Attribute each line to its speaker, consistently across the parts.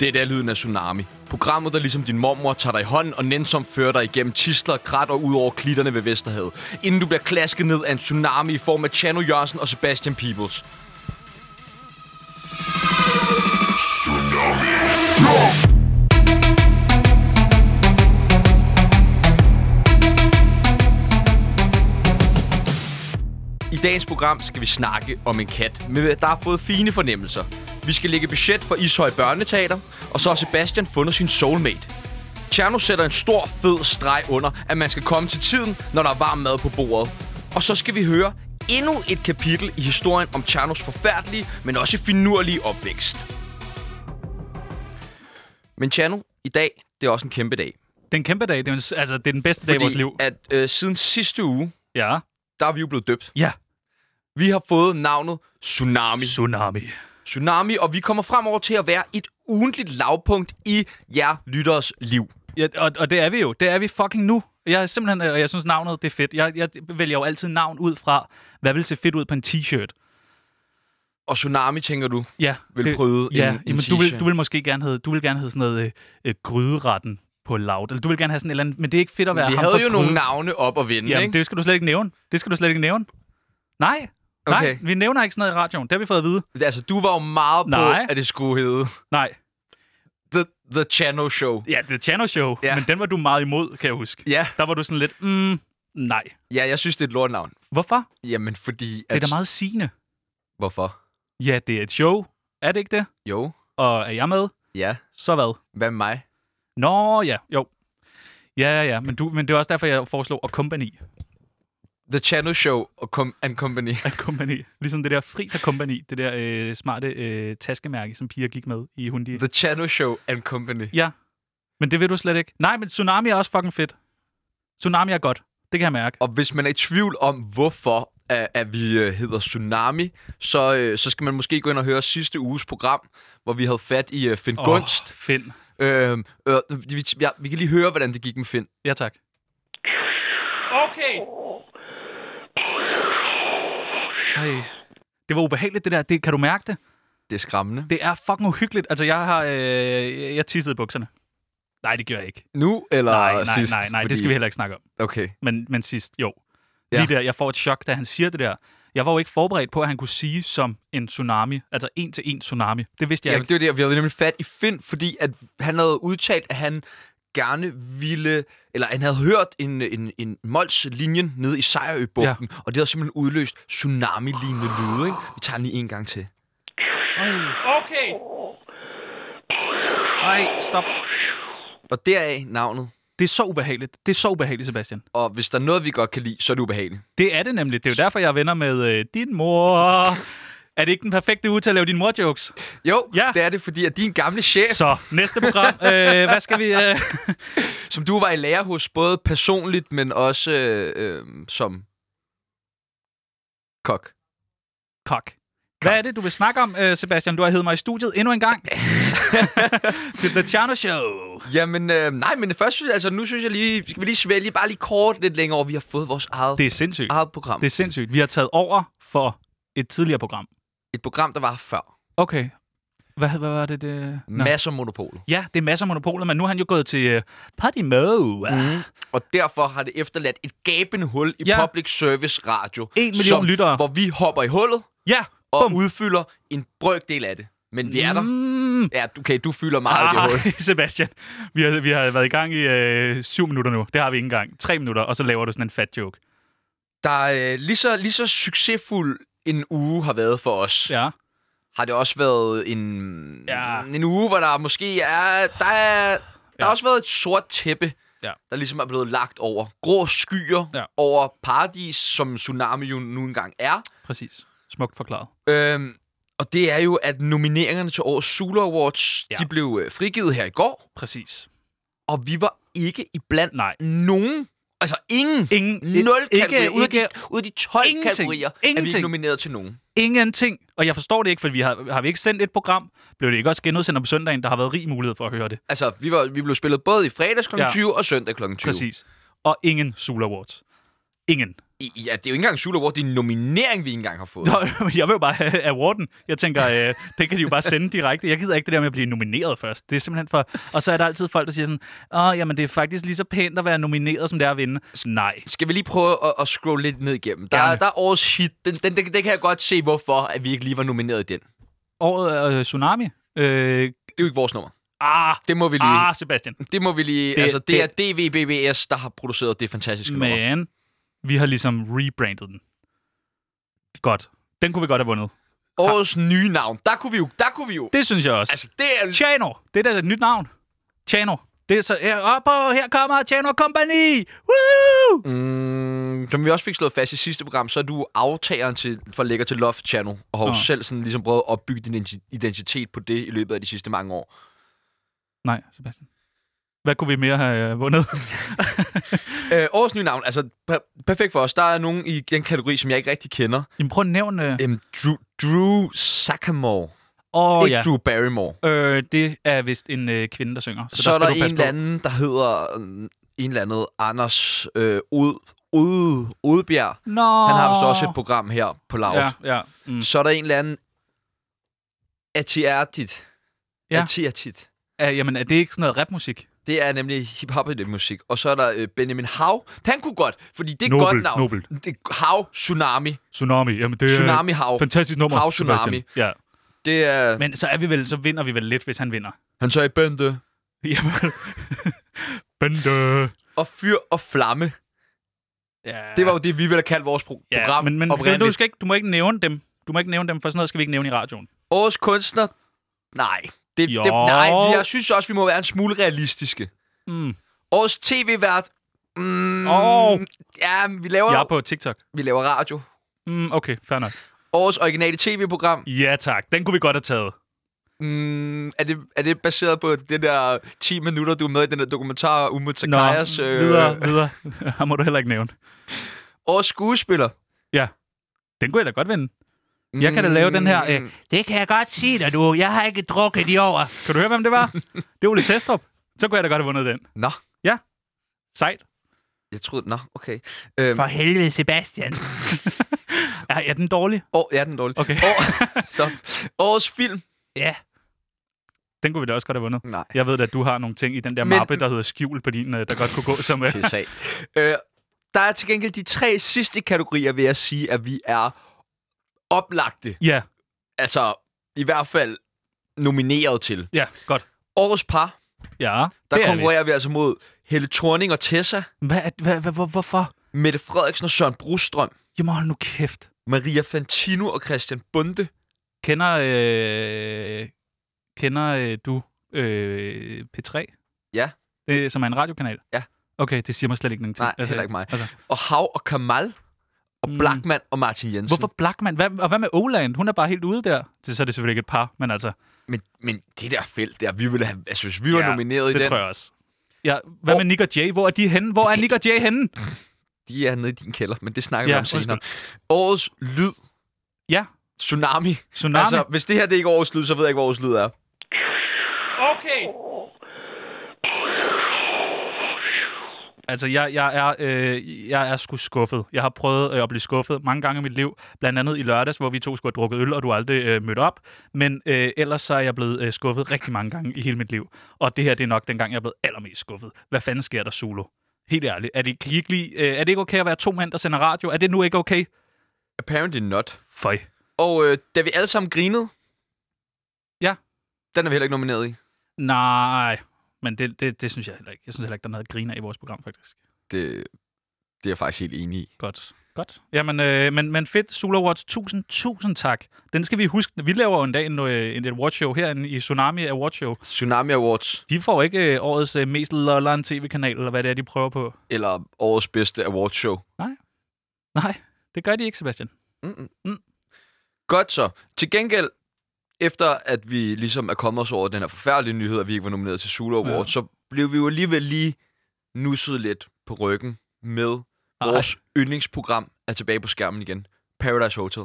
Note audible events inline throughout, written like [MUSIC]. Speaker 1: Det er der lyden af Tsunami. Programmet, der ligesom din mormor tager dig i hånden og nænsomt fører dig igennem tisler, krat og ud over klitterne ved Vesterhavet, inden du bliver klasket ned af en tsunami i form af Chano Jørgensen og Sebastian Peebles. I dagens program skal vi snakke om en kat, med, der har fået fine fornemmelser. Vi skal lægge budget for Ishøj Børneteater, og så har Sebastian fundet sin soulmate. Tjerno sætter en stor, fed streg under, at man skal komme til tiden, når der er varm mad på bordet. Og så skal vi høre endnu et kapitel i historien om Tjernos forfærdelige, men også finurlige opvækst. Men Tjerno, i dag, det er også en kæmpe dag.
Speaker 2: Det er en kæmpe dag. Det er, en, s- altså, det er den bedste dag i vores liv.
Speaker 1: at øh, siden sidste uge,
Speaker 2: Ja.
Speaker 1: der er vi jo blevet døbt.
Speaker 2: Ja.
Speaker 1: Vi har fået navnet Tsunami.
Speaker 2: Tsunami.
Speaker 1: Tsunami, og vi kommer fremover til at være et ugentligt lavpunkt i jer lytteres liv.
Speaker 2: Ja, og, og det er vi jo. Det er vi fucking nu. Jeg er simpelthen, øh, og jeg synes navnet, det er fedt. Jeg, jeg vælger jo altid navn ud fra, hvad vil se fedt ud på en t-shirt.
Speaker 1: Og Tsunami, tænker du,
Speaker 2: Ja,
Speaker 1: vil
Speaker 2: det,
Speaker 1: prøve
Speaker 2: ja,
Speaker 1: en, en
Speaker 2: jamen, du, vil,
Speaker 1: t-shirt.
Speaker 2: du vil måske gerne hedde, du vil gerne hedde sådan noget øh, øh, gryderetten på laut. Eller du vil gerne have sådan et eller andet, men det er ikke fedt at være
Speaker 1: Vi
Speaker 2: ham
Speaker 1: havde
Speaker 2: på
Speaker 1: jo nogle
Speaker 2: gryde-
Speaker 1: navne op at vinde,
Speaker 2: Jamen,
Speaker 1: ikke?
Speaker 2: det skal du slet ikke nævne. Det skal du slet ikke nævne. Nej, nej,
Speaker 1: Okay.
Speaker 2: vi nævner ikke sådan noget i radioen. Det har vi fået at vide.
Speaker 1: Det... Altså, du var jo meget på,
Speaker 2: Nej.
Speaker 1: at det skulle hedde
Speaker 2: Nej.
Speaker 1: The, The Channel Show.
Speaker 2: Ja, The Channel Show,
Speaker 1: Ja.
Speaker 2: ja. men den var du meget imod, kan jeg huske.
Speaker 1: Ja,
Speaker 2: Der var du sådan lidt, mm, nej.
Speaker 1: ja, jeg synes, det er et lortnavn.
Speaker 2: Hvorfor?
Speaker 1: Jamen, fordi... At...
Speaker 2: Det er da meget sigende.
Speaker 1: Hvorfor?
Speaker 2: Ja, det er et show. Er det ikke det?
Speaker 1: Jo,
Speaker 2: Og er jeg med?
Speaker 1: ja.
Speaker 2: Så hvad?
Speaker 1: Hvad med mig?
Speaker 2: Nå, ja, jo. Ja, ja, ja. Men, du, men det er også derfor, jeg foreslog at company. [LAUGHS]
Speaker 1: The Channel Show og com- and Company.
Speaker 2: At company. Ligesom det der fris og company. Det der øh, smarte øh, taskemærke, som piger gik med i Hundi.
Speaker 1: The Channel Show and Company.
Speaker 2: Ja. Men det vil du slet ikke. Nej, men Tsunami er også fucking fedt. Tsunami er godt. Det kan jeg mærke.
Speaker 1: Og hvis man er i tvivl om, hvorfor at, at vi øh, hedder Tsunami, så, øh, så skal man måske gå ind og høre sidste uges program, hvor vi havde fat i øh, Finn oh. Gunst.
Speaker 2: Oh, Finn.
Speaker 1: Øh, øh, vi, ja, vi kan lige høre, hvordan det gik med Finn.
Speaker 2: Ja, tak. Okay. Ej. Det var ubehageligt, det der. Det, kan du mærke det?
Speaker 1: Det er skræmmende.
Speaker 2: Det er fucking uhyggeligt. Altså, jeg har... Øh, jeg tissede i bukserne. Nej, det gjorde jeg ikke.
Speaker 1: Nu eller
Speaker 2: Nej, nej,
Speaker 1: sidst?
Speaker 2: nej, nej, det skal vi heller ikke snakke om.
Speaker 1: Okay.
Speaker 2: Men, men sidst, jo.
Speaker 1: Ja.
Speaker 2: Ja. Lige der, jeg får et chok, da han siger det der. Jeg var jo ikke forberedt på, at han kunne sige som en tsunami. Altså en til en tsunami. Det vidste jeg
Speaker 1: Jamen,
Speaker 2: ikke.
Speaker 1: det var det, og vi havde nemlig fat i Finn, fordi at han havde udtalt, at han gerne ville, eller han havde hørt en, en, en Mols-linjen nede i Sejrøbugten, ja. og det havde simpelthen udløst tsunami-lignende lyde, ikke? Vi tager den lige en gang til.
Speaker 2: Okay. Nej, stop.
Speaker 1: Og deraf navnet
Speaker 2: Det er så ubehageligt. Det er så ubehageligt, Sebastian.
Speaker 1: Og hvis der er noget, vi godt kan lide, så er det ubehageligt.
Speaker 2: Det er det nemlig. Det er jo derfor, jeg er venner med øh, din mor. Er det ikke den perfekte uge til at lave din mor-jokes?
Speaker 1: Jo, ja.
Speaker 2: Ja.
Speaker 1: det er det, fordi at din gamle chef, så.
Speaker 2: Så, næste
Speaker 1: [LAUGHS]
Speaker 2: program. Øh, hvad skal vi... Øh?
Speaker 1: som du var i lære hos, både personligt, men også øh, øh, som kok.
Speaker 2: Kok. Hvad er det, du vil snakke om, øh, Sebastian? Du har heddet mig i studiet endnu en
Speaker 1: [LAUGHS]
Speaker 2: gang. til The Chano Show.
Speaker 1: Jamen, øh, nej, men først, synes jeg- altså, nu synes jeg lige, skal vi lige svælge bare lige kort lidt længere over, vi har fået vores eget,
Speaker 2: Det er sindssygt.
Speaker 1: eget program.
Speaker 2: Det
Speaker 1: Det.
Speaker 2: er sindssygt. Vi har taget over for et tidligere program.
Speaker 1: Et program, der var før.
Speaker 2: Okay. Hvad, hvad var det? det? Nå.
Speaker 1: Masser af monopolet.
Speaker 2: Ja, det er masser af monopolet, men nu er han jo gået til uh, Party Mo. Mm.
Speaker 1: Mm. Og derfor har det efterladt et gabende hul i ja.
Speaker 2: Ja.
Speaker 1: public service radio.
Speaker 2: En million
Speaker 1: som,
Speaker 2: lyttere.
Speaker 1: Hvor vi hopper i hullet
Speaker 2: Ja,
Speaker 1: og
Speaker 2: bum.
Speaker 1: udfylder en brøkdel af det. Men vi er der.
Speaker 2: Mm.
Speaker 1: Ja, okay, du fylder meget i det hul.
Speaker 2: Ej, [LAUGHS] Sebastian, vi har, vi har været i gang i øh, syv minutter nu. Det har vi ikke engang. Tre minutter, og så laver du sådan en fat joke.
Speaker 1: Der er øh, lige så, lige så succesfuld en uge har været for os. Ja.
Speaker 2: Ja.
Speaker 1: Har det også været en, ja.
Speaker 2: Ja.
Speaker 1: en uge, hvor der måske er... Der, er, der ja. har
Speaker 2: Ja.
Speaker 1: også været et sort tæppe, ja.
Speaker 2: Ja.
Speaker 1: der ligesom er blevet lagt over. Grå skyer ja.
Speaker 2: Ja.
Speaker 1: over paradis, som tsunami jo nu engang er.
Speaker 2: Præcis. Smukt forklaret.
Speaker 1: Øhm, og det er jo, at nomineringerne til årets Zulu Awards, ja.
Speaker 2: Ja.
Speaker 1: de blev øh, frigivet her i går.
Speaker 2: Præcis.
Speaker 1: Og vi var ikke iblandt
Speaker 2: Nej.
Speaker 1: nogen... Altså ingen...
Speaker 2: Ingen,
Speaker 1: Nul kategorier.
Speaker 2: ikke,
Speaker 1: Ud af de,
Speaker 2: ikke,
Speaker 1: ud af de 12
Speaker 2: Ingenting.
Speaker 1: kategorier er vi ikke
Speaker 2: Ingenting.
Speaker 1: nomineret til nogen.
Speaker 2: ingenting. Og jeg forstår det ikke, for vi har, har vi ikke sendt et program. Blev det ikke også genudsendt om søndagen? Der har været rig mulighed for at høre det.
Speaker 1: Altså, vi, var, vi blev spillet både i fredags kl. Ja.
Speaker 2: Ja.
Speaker 1: 20 og søndag kl. 20.
Speaker 2: Præcis. Og ingen Sula Awards. Ingen.
Speaker 1: I- Ja, det er jo ikke engang Sula Award. Det er en nominering, vi ikke engang har fået.
Speaker 2: Nå, [LAUGHS] jeg vil jo bare have awarden. Jeg tænker, øh, det kan de jo bare sende direkte. Jeg gider ikke det der med at blive nomineret først. Det er simpelthen for... Og så er der altid folk, der siger sådan, åh, jamen det er faktisk lige så pænt at være nomineret, som det er at vinde. Nej.
Speaker 1: Skal vi lige prøve at, at scrolle lidt ned igennem? Der, er,
Speaker 2: Gerne.
Speaker 1: der er årets hit. Den, den, den, den kan jeg godt se, hvorfor at vi ikke lige var nomineret i den. Det
Speaker 2: Året øh, Tsunami. Øh,
Speaker 1: er jo ikke vores nummer.
Speaker 2: ah,
Speaker 1: Det må vi lige...
Speaker 2: ah, Sebastian.
Speaker 1: Det må vi lige... Det,
Speaker 2: Det-
Speaker 1: altså, det, det er DVBBS, der har produceret det fantastiske Men. nummer.
Speaker 2: Men vi har ligesom rebrandet den. Godt. Den kunne vi godt have vundet.
Speaker 1: Årets nye navn. Der kunne vi jo... Der kunne vi jo... Det,
Speaker 2: Det synes jeg også.
Speaker 1: altså, det er...
Speaker 2: Chano. Det er da et nyt navn. Chano. Det er så... Ja, op og her kommer Chano Company! Woo!
Speaker 1: Mm, som vi også fik slået fast i sidste program, så er du aftageren til, for Lækker til Love Channel, og har jo
Speaker 2: Nå.
Speaker 1: selv sådan ligesom prøvet at opbygge din identi- identitet på det i løbet af de sidste mange år.
Speaker 2: Nej, Sebastian. Hvad kunne vi mere have øh, vundet? [LAUGHS]
Speaker 1: Øh, årets nye navn, altså per- perfekt for os. Der er nogen i den kategori, som jeg ikke rigtig kender.
Speaker 2: Jamen, prøv at nævne... Åh, øh,
Speaker 1: Øhm, Drew, Drew Sakamore.
Speaker 2: oh,
Speaker 1: ikke
Speaker 2: ja.
Speaker 1: Drew Barrymore.
Speaker 2: Øh, det er vist en øh, kvinde, der synger.
Speaker 1: Så, så er der en eller
Speaker 2: anden...
Speaker 1: anden, der hedder øh, en eller anden Anders øh, Od, Od, Odbjerg.
Speaker 2: Nå.
Speaker 1: Han har vist også et program her på Loud. Ja.
Speaker 2: Ja, ja. Mm.
Speaker 1: Så er der en eller anden Atiartit.
Speaker 2: Ja.
Speaker 1: Ja. Atiartit.
Speaker 2: Uh, jamen, er det ikke sådan noget rapmusik?
Speaker 1: Det er nemlig hip-hop i det musik. Og så er der øh, Benjamin Hav. Han kunne godt, fordi det er et
Speaker 2: Nobel, Øh,
Speaker 1: godt navn.
Speaker 2: nobelt.
Speaker 1: Det, Hav, Tsunami.
Speaker 2: Tsunami. Jamen, det er
Speaker 1: Tsunami Hav.
Speaker 2: fantastisk nummer.
Speaker 1: Hav Tsunami.
Speaker 2: Sebastian. Ja.
Speaker 1: Det er...
Speaker 2: Men så er vi vel, så vinder vi vel lidt, hvis han vinder. [LAUGHS]
Speaker 1: Han sagde Bente.
Speaker 2: Jamen. Bente.
Speaker 1: Og Fyr og Flamme.
Speaker 2: Ja.
Speaker 1: Det var jo det, vi ville have kaldt vores pro-
Speaker 2: ja,
Speaker 1: program
Speaker 2: men, men
Speaker 1: oprindeligt.
Speaker 2: du, skal ikke, du må ikke nævne dem. Du må ikke nævne dem, for sådan noget skal vi ikke nævne i radioen.
Speaker 1: Årets kunstner? Nej. Det,
Speaker 2: Jo.
Speaker 1: det, nej, men jeg synes også, vi må være en smule realistiske.
Speaker 2: Mm.
Speaker 1: Årets tv-vært? Mm,
Speaker 2: Åh.
Speaker 1: Ja, vi laver,
Speaker 2: Jeg er på TikTok.
Speaker 1: vi laver radio.
Speaker 2: Mm, okay, fair nok.
Speaker 1: Årets originale tv-program?
Speaker 2: Ja tak, den kunne vi godt have taget.
Speaker 1: Mm, er, det, er det baseret på det der 10 minutter, du er med i den der dokumentar øh, om
Speaker 2: Nå,
Speaker 1: Takayas?
Speaker 2: videre, videre. øh, [LAUGHS] Ham må du heller ikke nævne.
Speaker 1: Årets skuespiller?
Speaker 2: Den kunne jeg da godt vinde. Jeg kan da lave den her...
Speaker 1: Mm,
Speaker 2: Øh, det kan jeg godt sige dig, du. Jeg har ikke drukket i år. Kan du høre, hvem det [LAUGHS] var? det var Ole Testrup. Så kunne jeg da godt have vundet den.
Speaker 1: Nå,
Speaker 2: Sejt.
Speaker 1: jeg troede... Nå, okay. Øhm,
Speaker 2: For helvede, [LAUGHS] Sebastian. er, er den dårlig?
Speaker 1: år, ja, den er dårlig.
Speaker 2: Okay.
Speaker 1: År,
Speaker 2: [LAUGHS]
Speaker 1: stop. Årets film?
Speaker 2: Ja. Den kunne vi da også godt have vundet.
Speaker 1: Nej.
Speaker 2: Jeg ved da, at du har nogle ting i den der
Speaker 1: Men-
Speaker 2: Men... mappe, der hedder skjul på din, øh, der godt kunne gå som... øh,
Speaker 1: til sag. øh, der er til gengæld de tre sidste kategorier, vil jeg sige, at vi er oplagte.
Speaker 2: Ja,
Speaker 1: Altså, i hvert fald nomineret til.
Speaker 2: ja, godt.
Speaker 1: Årets par,
Speaker 2: Ja,
Speaker 1: der
Speaker 2: det er
Speaker 1: konkurrerer vi. altså mod Helle Thorning og Tessa,
Speaker 2: vi. Hvad, er- hvad, hvad, hvor, hvorfor?
Speaker 1: Mette Frederiksen og Søren Brostrøm,
Speaker 2: Jamen hold nu kæft.
Speaker 1: Maria Fantino og Christian Bunde.
Speaker 2: Kender, øh, kender øh, du øh, P3?
Speaker 1: Ja.
Speaker 2: Øh, som er en radiokanal?
Speaker 1: Ja.
Speaker 2: Okay, det siger mig slet ikke nogen ting.
Speaker 1: Nej, heller ikke mig.
Speaker 2: Altså,
Speaker 1: Og Hav og Kamal, og
Speaker 2: Mm.
Speaker 1: Blackman og Martin Jensen.
Speaker 2: hvorfor Blackman? Hvad, og hvad med Oland? Hun er bare helt ude der. Det, så er det selvfølgelig ikke et par, men altså,
Speaker 1: Men, men det der felt der, vi ville have, altså hvis vi var
Speaker 2: Ja,
Speaker 1: nomineret i
Speaker 2: det
Speaker 1: den,
Speaker 2: tror jeg også. Ja, hvad
Speaker 1: Hvor-
Speaker 2: med Nick og Jay? Hvor er de henne? Hvor er
Speaker 1: [LAUGHS]
Speaker 2: Nick og Jay henne?
Speaker 1: de er nede i din kælder, men det snakker vi
Speaker 2: Ja,
Speaker 1: om senere. Årets lyd,
Speaker 2: Ja,
Speaker 1: Tsunami.
Speaker 2: Tsunami.
Speaker 1: Altså, hvis det her det er ikke er årets lyd, så ved jeg ikke, hvor årets lyd er.
Speaker 2: Okay. Altså, jeg, jeg, er, øh, jeg er sgu skuffet. Jeg har prøvet øh, at blive skuffet mange gange i mit liv. Blandt andet i lørdags, hvor vi to skulle have drukket øl, og du aldrig øh, mødte op. Men øh, ellers så er jeg blevet øh, skuffet rigtig mange gange i hele mit liv. Og det her, det er nok den gang, jeg er blevet allermest skuffet. Hvad fanden sker der, Zulu? Helt ærligt. Er det, kan I ikke lige, øh, er det ikke okay at være to mænd, der sender radio? Er det nu ikke okay?
Speaker 1: Apparently not.
Speaker 2: Føj.
Speaker 1: Og øh, da vi alle sammen grinede...
Speaker 2: Ja.
Speaker 1: Den er vi heller ikke nomineret i.
Speaker 2: Nej. Men det, det, det synes jeg heller ikke. Jeg synes heller ikke, der er noget at grine af i vores program, faktisk.
Speaker 1: Det, det er jeg faktisk helt enig i.
Speaker 2: Godt. Godt. Jamen, øh, men, men fedt, Sula Awards. Tusind, tusind tak. Den skal vi huske. Vi laver jo en dag en, øh, en et awardshow herinde i Tsunami Awardshow.
Speaker 1: Tsunami Awards,
Speaker 2: De får ikke øh, årets øh, mest lolleren tv-kanal, eller hvad det er, de prøver på.
Speaker 1: eller årets bedste awardshow.
Speaker 2: Nej, det gør de ikke, Sebastian.
Speaker 1: Mm-mm.
Speaker 2: Mm.
Speaker 1: Godt så. Til gengæld, efter at vi ligesom er kommet os over den her forfærdelige nyhed, at vi ikke var nomineret til Zulu
Speaker 2: Ja.
Speaker 1: Awards, så blev vi jo alligevel lige nusset lidt på ryggen med
Speaker 2: Ej.
Speaker 1: vores yndlingsprogram er tilbage på skærmen igen. Paradise Hotel.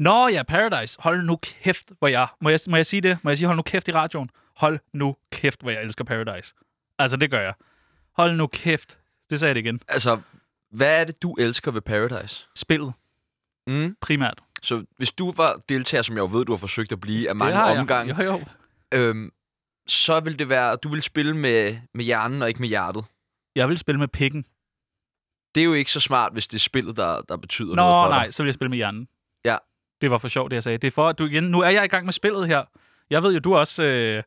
Speaker 2: Nå ja, Paradise. Hold nu kæft, hvor jeg... Må jeg, må jeg sige det? Må jeg sige, hold nu kæft i radioen? Hold nu kæft, hvor jeg elsker Paradise. Altså, det gør jeg. Hold nu kæft. Det sagde jeg det igen.
Speaker 1: Altså, Hvad er det, du elsker ved Paradise?
Speaker 2: Spillet
Speaker 1: Mm.
Speaker 2: primært.
Speaker 1: Så hvis du var deltager, som jeg jo ved, du har forsøgt at blive af mange
Speaker 2: det har jeg.
Speaker 1: omgange,
Speaker 2: Jo, jo.
Speaker 1: øhm, så vil det være, at du vil spille med, med hjernen og ikke med hjertet.
Speaker 2: Jeg vil spille med pikken.
Speaker 1: Det er jo ikke så smart, hvis det er spillet, der, der betyder noget
Speaker 2: Nå,
Speaker 1: for
Speaker 2: nej,
Speaker 1: dig.
Speaker 2: så vil jeg spille med hjernen.
Speaker 1: Ja.
Speaker 2: Det var for sjovt, det jeg sagde. Det er for, at du igen... Nu er jeg i gang med spillet her. Jeg ved jo, du også øh,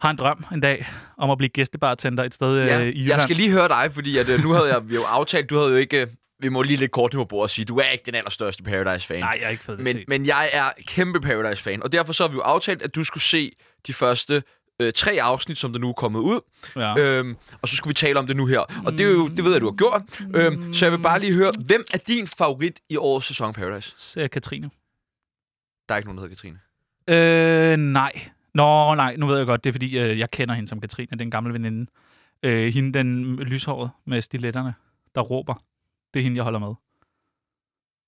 Speaker 2: har en drøm en dag om at blive gæstebartender et sted ja, øh, i Jylland.
Speaker 1: jeg skal lige høre dig, fordi at, øh, nu havde jeg, vi jo aftalt, du havde jo ikke... øh, Vi må lige lægge kortene på bordet og sige, du er ikke den allerstørste Paradise-fan.
Speaker 2: Nej, jeg er ikke fed
Speaker 1: men, men jeg er kæmpe Paradise-fan, og derfor så har vi jo aftalt, at du skulle se de første øh, tre afsnit, som der nu er kommet ud.
Speaker 2: ja.
Speaker 1: Øhm, og så skulle vi tale om det nu her. Og det, er jo, det ved jeg, du har gjort. Øhm, så jeg vil bare lige høre, hvem er din favorit i årets sæson af Paradise?
Speaker 2: øh, Katrine.
Speaker 1: Der er ikke nogen, der hedder Katrine.
Speaker 2: Øh, nej. Nå, nej, nu ved jeg godt, det er fordi, øh, jeg kender hende som Katrine, den gamle veninde. Øh, hende, den lyshåret med stiletterne, der råber. Det er hende, jeg holder med.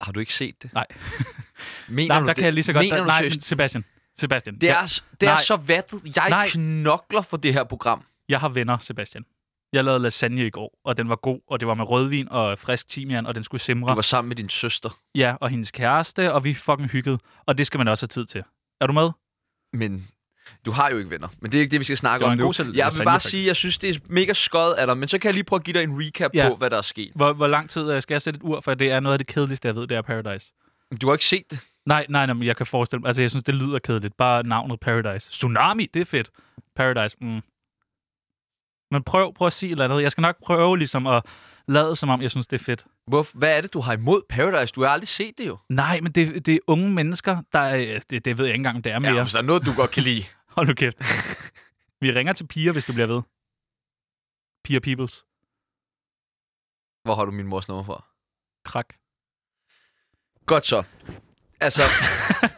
Speaker 1: Har du ikke set det?
Speaker 2: Nej.
Speaker 1: Mener
Speaker 2: Nej,
Speaker 1: du
Speaker 2: men der
Speaker 1: det?
Speaker 2: kan jeg lige så godt...
Speaker 1: Mener
Speaker 2: der,
Speaker 1: du
Speaker 2: nej,
Speaker 1: seriøst?
Speaker 2: men Sebastian. Sebastian.
Speaker 1: Det
Speaker 2: jeg,
Speaker 1: er, det er
Speaker 2: Nej.
Speaker 1: så vattet. Jeg
Speaker 2: Nej.
Speaker 1: knokler for det her program.
Speaker 2: jeg har venner, Sebastian. Jeg lavede lasagne i går, og den var god, og det var med rødvin og frisk timian, og den skulle simre.
Speaker 1: Du var sammen med din søster.
Speaker 2: Ja, og hendes kæreste, og vi fucking hyggede. Og det skal man også have tid til. Er du med?
Speaker 1: Men du har jo ikke venner. Men det er ikke det, vi skal snakke
Speaker 2: Det var
Speaker 1: om
Speaker 2: en
Speaker 1: nu.
Speaker 2: god selv-
Speaker 1: jeg vil
Speaker 2: lasagne,
Speaker 1: bare
Speaker 2: faktisk.
Speaker 1: sige, at jeg synes, det er mega skød af dig. Men så kan jeg lige prøve at give dig en recap
Speaker 2: Ja.
Speaker 1: på, hvad der er sket.
Speaker 2: Hvor, hvor lang tid øh, skal jeg sætte et ur, for det er noget af det kedeligste, jeg ved, det er Paradise.
Speaker 1: Du har ikke set det.
Speaker 2: Nej, nej, nej, men jeg kan forestille mig. Altså, jeg synes, det lyder kedeligt. Bare navnet Paradise. Tsunami, det er fedt. Paradise, mm. Men prøv, prøv at sige et eller andet. Jeg skal nok prøve ligesom at lade, som om jeg synes, det er fedt.
Speaker 1: Hvorfor, hvad er det, du har imod Paradise? Du har aldrig set det jo.
Speaker 2: Nej, men det, det er unge mennesker, der er, øh, det, det ved jeg ikke engang, om det er mere.
Speaker 1: Ja, hvis der er noget, du godt kan lide.
Speaker 2: [LAUGHS] Hold nu kæft. Vi ringer til piger, hvis du bliver ved. Piger Peoples.
Speaker 1: Hvor har du min mors nummer fra?
Speaker 2: Krak.
Speaker 1: Godt så.
Speaker 2: [LAUGHS]
Speaker 1: Altså,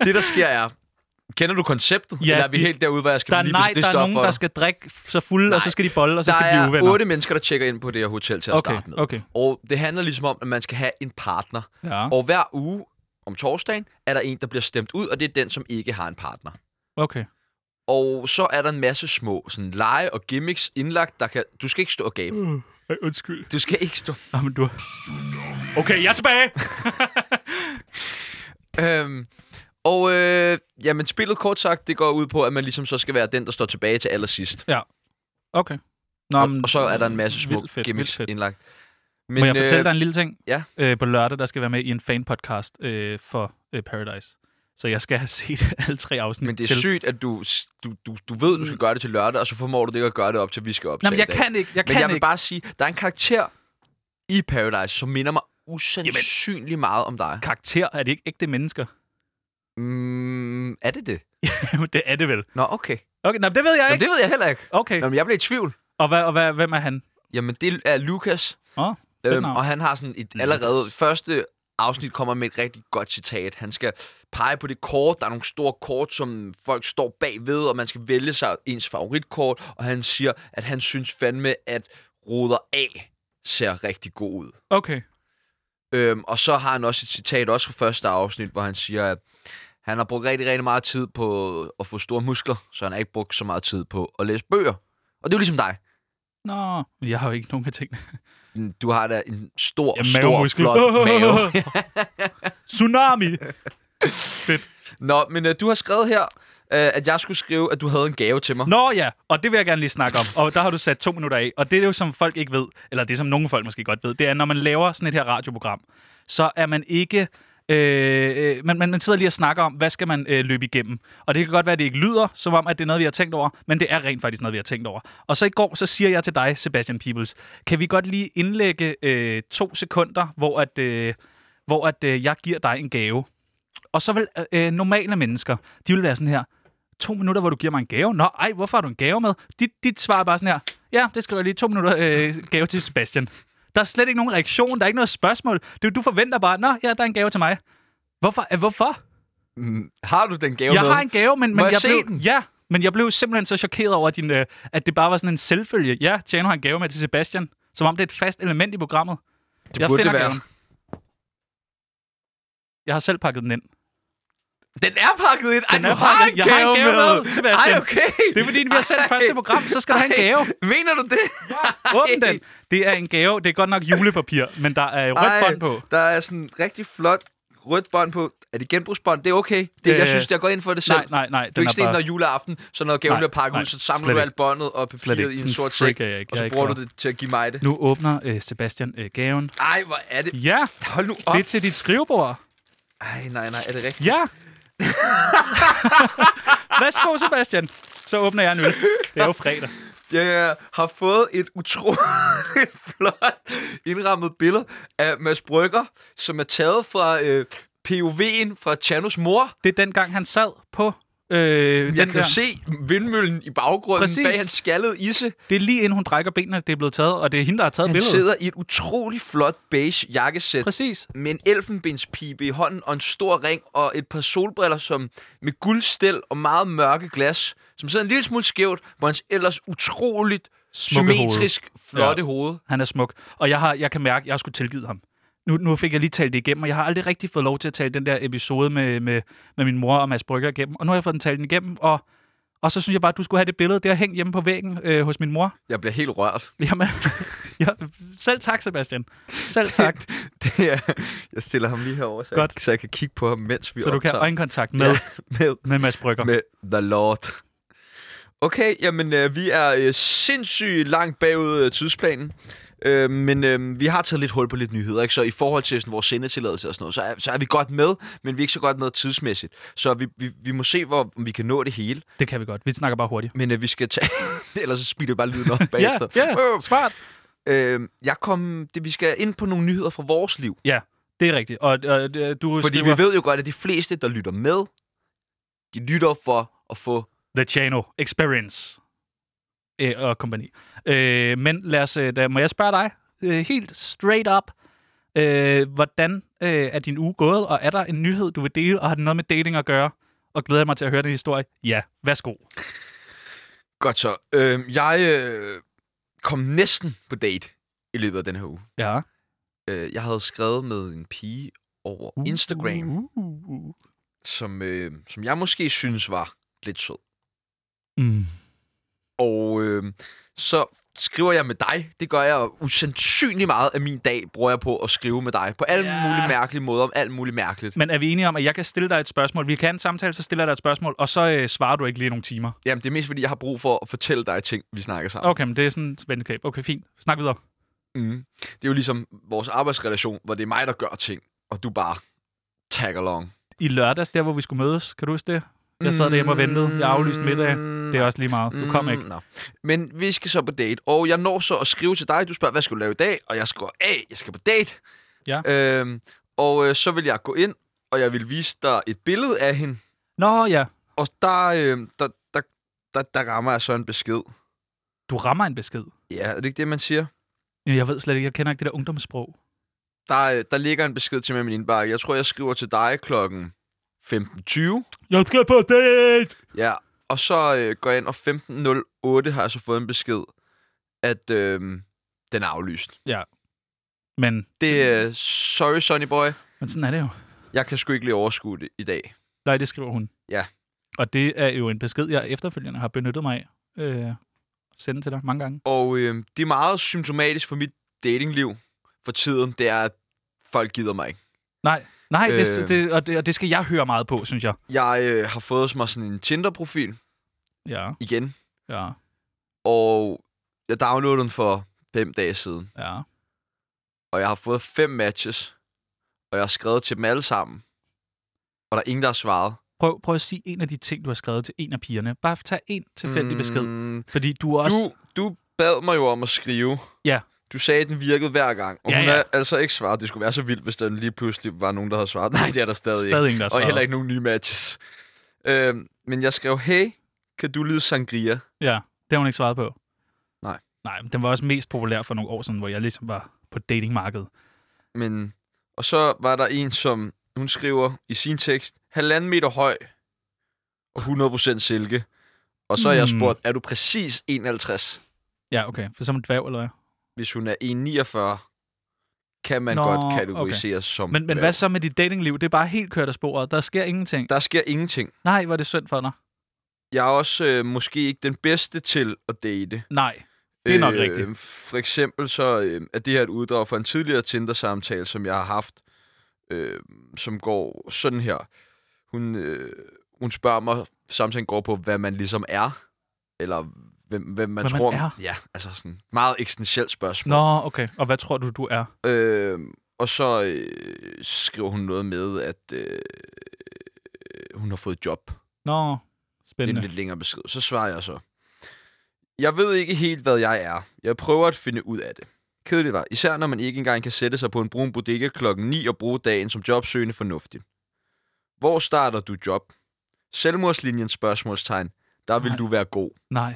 Speaker 1: det der sker er... Kender du konceptet?
Speaker 2: Ja,
Speaker 1: Ja, Eller er vi
Speaker 2: det-
Speaker 1: helt derude, hvor jeg skal
Speaker 2: Der er,
Speaker 1: lige
Speaker 2: nej,
Speaker 1: det
Speaker 2: der er
Speaker 1: stop
Speaker 2: nogen,
Speaker 1: for
Speaker 2: der
Speaker 1: dig?
Speaker 2: skal drikke så fuld, og
Speaker 1: Nej,
Speaker 2: så skal de bolle, og så
Speaker 1: der
Speaker 2: skal de blive
Speaker 1: er
Speaker 2: uvenner.
Speaker 1: otte mennesker, der tjekker ind på det her hotel til at
Speaker 2: okay,
Speaker 1: starte med.
Speaker 2: okay.
Speaker 1: Og det handler ligesom om, at man skal have en partner.
Speaker 2: Ja,
Speaker 1: Og hver uge om torsdagen er der en, der bliver stemt ud, og det er den, som ikke har en partner.
Speaker 2: okay.
Speaker 1: Og så er der en masse små sådan, lege og gimmicks indlagt, der kan... Du skal ikke stå og gabe.
Speaker 2: Mm. Ej, undskyld.
Speaker 1: Du skal ikke stå...
Speaker 2: Nå, men du... Okay, jeg er tilbage!
Speaker 1: Øhm, og øh, jamen, spillet kort sagt, det går ud på, at man ligesom så skal være den, der står tilbage til allersidst.
Speaker 2: Okay. Nå,
Speaker 1: Og,
Speaker 2: men-
Speaker 1: og så er der en masse små
Speaker 2: Vildt fedt, vildt
Speaker 1: gimmicks
Speaker 2: fedt.
Speaker 1: indlagt. Men, øh,
Speaker 2: Må jeg fortælle dig en lille ting?
Speaker 1: ja.
Speaker 2: Øh, på lørdag, der skal jeg være med i en fanpodcast øh, for øh, Paradise. Så jeg skal have set [LAUGHS] alle tre afsnit
Speaker 1: men det er
Speaker 2: til. Mm.
Speaker 1: sygt, at du, du, du, du ved, du skal gøre det til lørdag, og så formår du det ikke at gøre det op til, vi skal
Speaker 2: Nå,
Speaker 1: optage
Speaker 2: men jeg
Speaker 1: i dag.
Speaker 2: kan ikke, jeg
Speaker 1: men
Speaker 2: kan
Speaker 1: jeg vil
Speaker 2: ikke.
Speaker 1: bare sige, der er en karakter i Paradise, som minder mig usandsynlig meget om dig.
Speaker 2: Karakter, er det ikke ægte mennesker? [LAUGHS]
Speaker 1: Mm, er det det?
Speaker 2: det er det vel.
Speaker 1: Nå, okay.
Speaker 2: Okay, nå, men det ved jeg
Speaker 1: Nå,
Speaker 2: ikke.
Speaker 1: det ved jeg heller ikke.
Speaker 2: Okay,
Speaker 1: Nå, men jeg blev i tvivl.
Speaker 2: og, hvad, og hvad, hvem er han?
Speaker 1: Jamen, det er Lukas.
Speaker 2: Åh, fedt
Speaker 1: Øhm,
Speaker 2: navn.
Speaker 1: og han har sådan et allerede første afsnit kommer med et rigtig godt citat. Han skal pege på det kort. Der er nogle store kort, som folk står bagved, og man skal vælge sig ens favoritkort. Og han siger, at han synes fandme, at ruder A ser rigtig god ud.
Speaker 2: Okay.
Speaker 1: Øhm, og så har han også et citat også fra første afsnit, hvor han siger, at han har brugt rigtig, rigtig meget tid på at få store muskler, så han har ikke brugt så meget tid på at læse bøger. Og det er jo ligesom dig.
Speaker 2: Nå, men jeg har jo ikke nogen af tingene.
Speaker 1: Du har da en stor,
Speaker 2: Ja,
Speaker 1: ja, stor,
Speaker 2: [LAUGHS]
Speaker 1: flot mave.
Speaker 2: Tsunami!
Speaker 1: Nå, men øh, du har skrevet her, øh, at jeg skulle skrive, at du havde en gave til mig.
Speaker 2: Nå ja, og det vil jeg gerne lige snakke om. Og der har du sat to minutter af. Og det er jo, som folk ikke ved, eller det som nogle folk måske godt ved, det er, når man laver sådan et her radioprogram, så er man ikke... Øh, øh, man, man, man sidder lige og snakker om, hvad skal man øh, løbe igennem. Og det kan godt være, at det ikke lyder, som om, at det er noget, vi har tænkt over, men det er rent faktisk noget, vi har tænkt over. Og så i går, så siger jeg til dig, Sebastian Peebles, kan vi godt lige indlægge øh, to sekunder, hvor at, øh, hvor at øh, jeg giver dig en gave. Og så vil øh, normale mennesker, de vil være sådan her, to minutter, hvor du giver mig en gave. Nå, ej, hvorfor har du en gave med? Dit, dit svar er bare sådan her, ja, det skriver jeg lige, to minutter øh, gave til Sebastian. Der er slet ikke nogen reaktion, der er ikke noget spørgsmål. Du, du forventer bare, nå, ja, der er en gave til mig. Hvorfor? Øh, hvorfor?
Speaker 1: Mm, har du den gave
Speaker 2: Jeg
Speaker 1: med?
Speaker 2: har en gave, men, men
Speaker 1: Må jeg se
Speaker 2: blev,
Speaker 1: den?
Speaker 2: Ja, men jeg blev simpelthen så chokeret over, din, øh, at det bare var sådan en selvfølge. Ja, Tjano har en gave med til Sebastian. Som om det er et fast element i programmet.
Speaker 1: Det burde det
Speaker 2: finder
Speaker 1: være.
Speaker 2: gaven. Jeg har selv pakket den ind.
Speaker 1: Den er pakket ind. Ej,
Speaker 2: Den
Speaker 1: du
Speaker 2: er
Speaker 1: har
Speaker 2: pakket
Speaker 1: en
Speaker 2: ind. Jeg har en
Speaker 1: gave
Speaker 2: gave
Speaker 1: med.
Speaker 2: med, Sebastian.
Speaker 1: Ej, okay.
Speaker 2: Det er fordi, vi har sendt
Speaker 1: [LAUGHS] Ej.
Speaker 2: første program, så skal der have en gave.
Speaker 1: Ej, Mener du det?
Speaker 2: Åbn den. Det er en gave. Det er godt nok julepapir, men der er rødt
Speaker 1: Ej,
Speaker 2: bånd på.
Speaker 1: Der er sådan en rigtig flot rødt bånd på. Er det genbrugsbånd? Det er okay. Det, jeg
Speaker 2: Øh,
Speaker 1: synes, jeg går ind for det selv.
Speaker 2: Nej, nej, nej.
Speaker 1: Du er
Speaker 2: Den
Speaker 1: ikke
Speaker 2: er
Speaker 1: sådan en, når
Speaker 2: bare...
Speaker 1: juleaften, så når gaven
Speaker 2: Nej,
Speaker 1: bliver pakket ud,
Speaker 2: nej,
Speaker 1: så samler
Speaker 2: slet
Speaker 1: du
Speaker 2: ikke.
Speaker 1: alt båndet og
Speaker 2: Slet
Speaker 1: papiret
Speaker 2: ikke.
Speaker 1: i en
Speaker 2: Sådan
Speaker 1: sort
Speaker 2: freak
Speaker 1: sæk,
Speaker 2: er jeg ikke.
Speaker 1: og
Speaker 2: Jeg er
Speaker 1: så
Speaker 2: ikke
Speaker 1: bruger
Speaker 2: klar.
Speaker 1: du det til at give mig det.
Speaker 2: Nu åbner øh, Sebastian øh, gaven.
Speaker 1: Ej, hvor er det...
Speaker 2: Ja,
Speaker 1: Hold nu
Speaker 2: det
Speaker 1: op.
Speaker 2: er til dit skrivebord.
Speaker 1: Ej, nej, nej, er det rigtigt? [LAUGHS]
Speaker 2: Ja. Værsgo, Sebastian. Så åbner jeg en øl. Det er jo fredag.
Speaker 1: Jeg har fået et utroligt [LAUGHS] flot indrammet billede af Mads Brygger, som er taget fra øh, POV'en fra Chanos mor.
Speaker 2: Det er dengang, han sad på øh, den
Speaker 1: Jeg kan
Speaker 2: der.
Speaker 1: jo se vindmøllen i baggrunden
Speaker 2: Præcis.
Speaker 1: Præcis. bag hans skaldede isse.
Speaker 2: Det er lige inden hun brækker benene, det er blevet taget, og det er hende, der har taget
Speaker 1: Han
Speaker 2: billedet.
Speaker 1: sidder i et utroligt flot beige jakkesæt
Speaker 2: Præcis.
Speaker 1: med en elfenbenspibe i hånden og en stor ring og et par solbriller som med guldstel og meget mørke glas, som sidder en lille smule skævt på hans ellers utroligt
Speaker 2: Smukke hoved.
Speaker 1: symmetrisk flotte ja. hoved.
Speaker 2: Han er smuk. Og jeg, har, jeg kan mærke, at jeg skulle tilgive ham. Nu, nu fik jeg lige talt det igennem, og jeg har aldrig rigtig fået lov til at tale den der episode med, med, med min mor og Mads Brygger igennem. Og nu har jeg fået den talt den igennem, og, og så synes jeg bare, at du skulle have det billede. Det har hængt hjemme på væggen øh, hos min mor. [LAUGHS]
Speaker 1: Jeg bliver helt rørt. [LAUGHS]
Speaker 2: Jamen, ja, selv tak, Sebastian. Selv tak.
Speaker 1: [LAUGHS] Det er, jeg stiller ham lige herover, så,
Speaker 2: Godt.
Speaker 1: Jeg, så jeg kan kigge på ham, mens vi
Speaker 2: så du kan
Speaker 1: optager.
Speaker 2: have øjenkontakt med,
Speaker 1: med,
Speaker 2: med Mads Brygger.
Speaker 1: med The Lord. Okay, jamen øh, vi er øh, sindssygt langt bagud øh, tidsplanen. Øh, men øh, vi har taget lidt hul på lidt nyheder, ikke? så i forhold til sådan, vores sendetilladelse og sådan noget, så er, så er vi godt med, men vi er ikke så godt med tidsmæssigt. Så vi, vi, vi må se, hvor om vi kan nå det hele.
Speaker 2: Det kan vi godt. Vi snakker bare hurtigt.
Speaker 1: Men øh, vi skal tage... [LAUGHS] Ellers så speeder vi bare lyden op
Speaker 2: [LAUGHS] Ja,
Speaker 1: bagefter.
Speaker 2: ja,
Speaker 1: Øh,
Speaker 2: smart.
Speaker 1: Øh, jeg kom, det, vi skal ind på nogle nyheder fra vores liv.
Speaker 2: Ja, det er rigtigt. Og, og øh, du
Speaker 1: Fordi
Speaker 2: skriver
Speaker 1: vi ved jo godt, at de fleste, der lytter med, de lytter for at få...
Speaker 2: The Chano Experience øh, og kompagni. Øh, men lad os, øh, da, må jeg spørge dig øh, helt straight up, øh, hvordan øh, er din uge gået, og er der en nyhed, du vil dele, og har det noget med dating at gøre? Og glæder jeg mig til at høre den historie? Ja, værsgo.
Speaker 1: Godt så. Øh, jeg øh, kom næsten på date i løbet af den her uge.
Speaker 2: Ja.
Speaker 1: Øh, jeg havde skrevet med en pige over Instagram,
Speaker 2: Uh, uh, uh.
Speaker 1: Som, øh, som jeg måske synes var lidt sød.
Speaker 2: Mm.
Speaker 1: Og øh, så skriver jeg med dig. Det gør jeg jo usandsynligt meget af min dag, bruger jeg på at skrive med dig. På alle
Speaker 2: Ja.
Speaker 1: yeah. mulige mærkelige måder, om alt muligt mærkeligt.
Speaker 2: Men er vi enige om, at jeg kan stille dig et spørgsmål? Vi kan have en samtale, så stiller jeg dig et spørgsmål, og så øh, svarer du ikke lige i nogle timer.
Speaker 1: Jamen, det er mest fordi, jeg har brug for at fortælle dig ting, vi snakker sammen.
Speaker 2: Okay, men det er sådan et venskab. Okay, fint. Snak videre.
Speaker 1: Mm. Det er jo ligesom vores arbejdsrelation, hvor det er mig, der gør ting, og du bare tag along.
Speaker 2: I lørdags, der hvor vi skulle mødes, kan du huske det? Jeg sad derhjemme og ventede. Jeg aflyste middag. Det er også lige meget. Du kom ikke.
Speaker 1: No. Mm. Men vi skal så på date, og jeg når så at skrive til dig. Du spørger, hvad skal du lave i dag? Og jeg skriver, hey, jeg skal på date.
Speaker 2: Ja.
Speaker 1: Øhm, og øh, så vil jeg gå ind, og jeg vil vise dig et billede af hende.
Speaker 2: Nå ja,
Speaker 1: Og der, øh, der, der, der, der rammer jeg så en besked.
Speaker 2: du rammer en besked.
Speaker 1: Ja, er det ikke det, man siger?
Speaker 2: Jamen, Jeg ved slet ikke, jeg kender ikke det der ungdomssprog.
Speaker 1: Der, øh, der ligger en besked til mig i min indbakke. Jeg tror, jeg skriver til dig klokken 15.20.
Speaker 2: Jeg skal på date!
Speaker 1: Ja, og så øh, går jeg ind, og 15.08 har jeg så fået en besked, at øh, den er aflyst.
Speaker 2: Men,
Speaker 1: Det
Speaker 2: Mm.
Speaker 1: er, øh, sorry Sonny Boy,
Speaker 2: men sådan er det jo.
Speaker 1: jeg kan sgu ikke lige overskue det i dag.
Speaker 2: Nej, det skriver hun.
Speaker 1: Ja.
Speaker 2: Og det er jo en besked, jeg efterfølgende har benyttet mig af. Øh, sende til dig mange gange.
Speaker 1: Og øh, det er meget symptomatisk for mit datingliv for tiden, det er, at folk gider mig ikke.
Speaker 2: Nej, nej, øh...
Speaker 1: Øh.
Speaker 2: det, det, og det, og det skal jeg høre meget på, synes jeg.
Speaker 1: Jeg øh, har fået mig sådan en Tinder-profil
Speaker 2: Ja,
Speaker 1: igen,
Speaker 2: ja,
Speaker 1: og jeg downloadede den for fem dage siden,
Speaker 2: ja.
Speaker 1: og jeg har fået fem matches, og jeg har skrevet til dem alle sammen, og der er ingen, der har svaret.
Speaker 2: Prøv, prøv at sige en af de ting, du har skrevet til en af pigerne. Bare tag en tilfældig mm... besked.
Speaker 1: Mm,
Speaker 2: Fordi du er også...
Speaker 1: Du, du bad mig jo om at skrive.
Speaker 2: Ja.
Speaker 1: Du sagde, at den virkede hver gang, og
Speaker 2: Ja,
Speaker 1: ja, hun
Speaker 2: ja.
Speaker 1: har altså ikke svaret. Det skulle være så vildt, hvis der lige pludselig var nogen, der havde svaret. [LAUGHS] Nej, det er der stadig, stadig ikke.
Speaker 2: stadig ikke, der
Speaker 1: Og
Speaker 2: svarer.
Speaker 1: heller ikke nogen nye matches. Øhm, men jeg skrev, hey, kan du lide sangria?
Speaker 2: Ja, det har hun ikke svaret på.
Speaker 1: Nej.
Speaker 2: Nej, men den var også mest populær for nogle år siden, hvor jeg ligesom var på datingmarkedet.
Speaker 1: Men, og så var der en, som hun skriver i sin tekst, halvanden meter høj og 100% silke. Og så har jeg
Speaker 2: Mm.
Speaker 1: spurgt, er du præcis 51,
Speaker 2: Ja, okay. For som en dværg, eller hvad?
Speaker 1: hvis hun er 1,49? kan man
Speaker 2: Nå,
Speaker 1: Nå, godt kategorisere okay. som...
Speaker 2: Men, men hvad så med dit datingliv? Det er bare helt kørt af sporet. Der sker ingenting.
Speaker 1: Der sker ingenting.
Speaker 2: Nej, hvor er det synd for dig.
Speaker 1: Jeg er også øh, måske ikke den bedste til at date. Øh,
Speaker 2: Nej. Det er nok rigtigt.
Speaker 1: For eksempel så øh, er det her et uddrag fra en tidligere Tinder-samtale, som jeg har haft, øh, som går sådan her. Hun, øh, hun spørger mig, samtalen går på, hvad man ligesom er, eller hvem, hvem man
Speaker 2: Hvad man
Speaker 1: tror...
Speaker 2: er?
Speaker 1: Ja, altså sådan meget eksistentielt spørgsmål.
Speaker 2: Nå, okay. Og hvad tror du, du er?
Speaker 1: Øh, og så øh, skriver hun noget med, at øh, hun har fået job.
Speaker 2: Nå,
Speaker 1: Det er en
Speaker 2: spændende.
Speaker 1: lidt længere besked. Så svarer jeg så. Jeg ved ikke helt, hvad jeg er. Jeg prøver at finde ud af det. Kedeligt var, især når man ikke engang kan sætte sig på en brun bodega klokken 9 og bruge dagen som jobsøgende fornuftigt. Hvor starter du job? Selvmordslinjen spørgsmålstegn. Der vil
Speaker 2: Nej.
Speaker 1: du være god.
Speaker 2: Nej,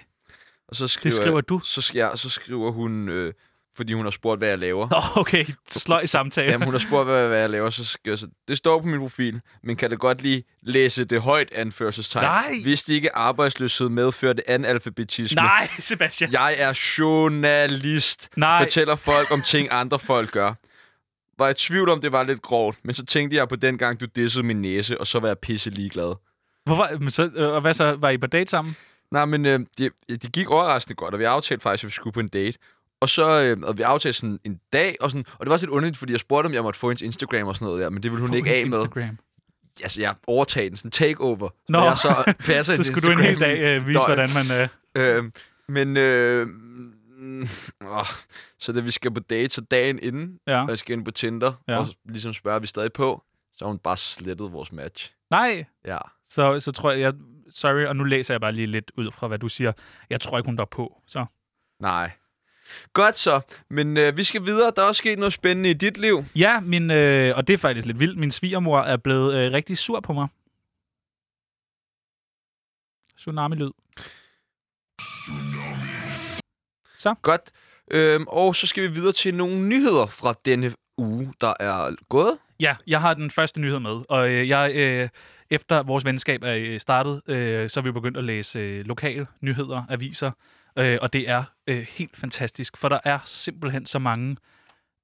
Speaker 1: Og så skriver,
Speaker 2: det skriver du.
Speaker 1: så, sk- ja, så skriver hun, øh, fordi hun har spurgt, hvad jeg laver.
Speaker 2: Nå, okay. Sløj samtale.
Speaker 1: Jamen, hun har spurgt, hvad, hvad jeg laver, så skriver jeg så, det står på min profil, men kan da godt lige læse det højt anførselstegn.
Speaker 2: Nej!
Speaker 1: Hvis det ikke arbejdsløshed medførte analfabetisme.
Speaker 2: Nej, Sebastian.
Speaker 1: Jeg er journalist.
Speaker 2: Nej.
Speaker 1: Fortæller folk om ting, andre folk gør. Var i tvivl om, det var lidt grovt, men så tænkte jeg på den gang, du dissede min næse, og så var jeg pisse ligeglad.
Speaker 2: Hvorfor? Men så, øh, og hvad så? Var I på date sammen?
Speaker 1: Nej, men øh, det, det gik overraskende godt, og vi aftalte faktisk, at vi skulle på en date. Og så øh, og vi aftalte sådan en dag, og, sådan, og det var også lidt underligt, fordi jeg spurgte, om jeg måtte få hendes Instagram og sådan noget der, men det ville hun
Speaker 2: På
Speaker 1: ikke
Speaker 2: hendes
Speaker 1: af med.
Speaker 2: Instagram.
Speaker 1: altså, jeg overtager den sådan takeover. Nå.
Speaker 2: Nå.
Speaker 1: Jeg så
Speaker 2: [LAUGHS]
Speaker 1: passer
Speaker 2: Så
Speaker 1: hendes
Speaker 2: skulle du en hel
Speaker 1: Instagram
Speaker 2: dag
Speaker 1: i
Speaker 2: øh,
Speaker 1: et
Speaker 2: vise,
Speaker 1: døgn.
Speaker 2: hvordan man... Øh,
Speaker 1: Øhm, men, øh, mm, åh, så da vi skal på date, så dagen inden,
Speaker 2: ja.
Speaker 1: og jeg skal ind på Tinder,
Speaker 2: Ja.
Speaker 1: ja. og ligesom spørger, er vi stadig på? Så har hun bare slettet vores match.
Speaker 2: Nej,
Speaker 1: Ja.
Speaker 2: så, så tror jeg, jeg... Sorry, og nu læser jeg bare lige lidt ud fra, hvad du siger. Jeg tror ikke, hun der er på. Så
Speaker 1: Nej. Godt så, men øh, vi skal videre. Der er også sket noget spændende i dit liv.
Speaker 2: Ja, min, øh, og det er faktisk lidt vildt. Min svigermor er blevet øh, rigtig sur på mig. Tsunami-lyd.
Speaker 1: Godt. Øhm, og så skal vi videre til nogle nyheder fra denne uge, der er gået.
Speaker 2: Ja, jeg har den første nyhed med, og øh, jeg, øh, efter vores venskab er øh, startet, øh, så er vi begyndt at læse øh, lokale nyheder, aviser, øh, og det er øh, helt fantastisk, for der er simpelthen så mange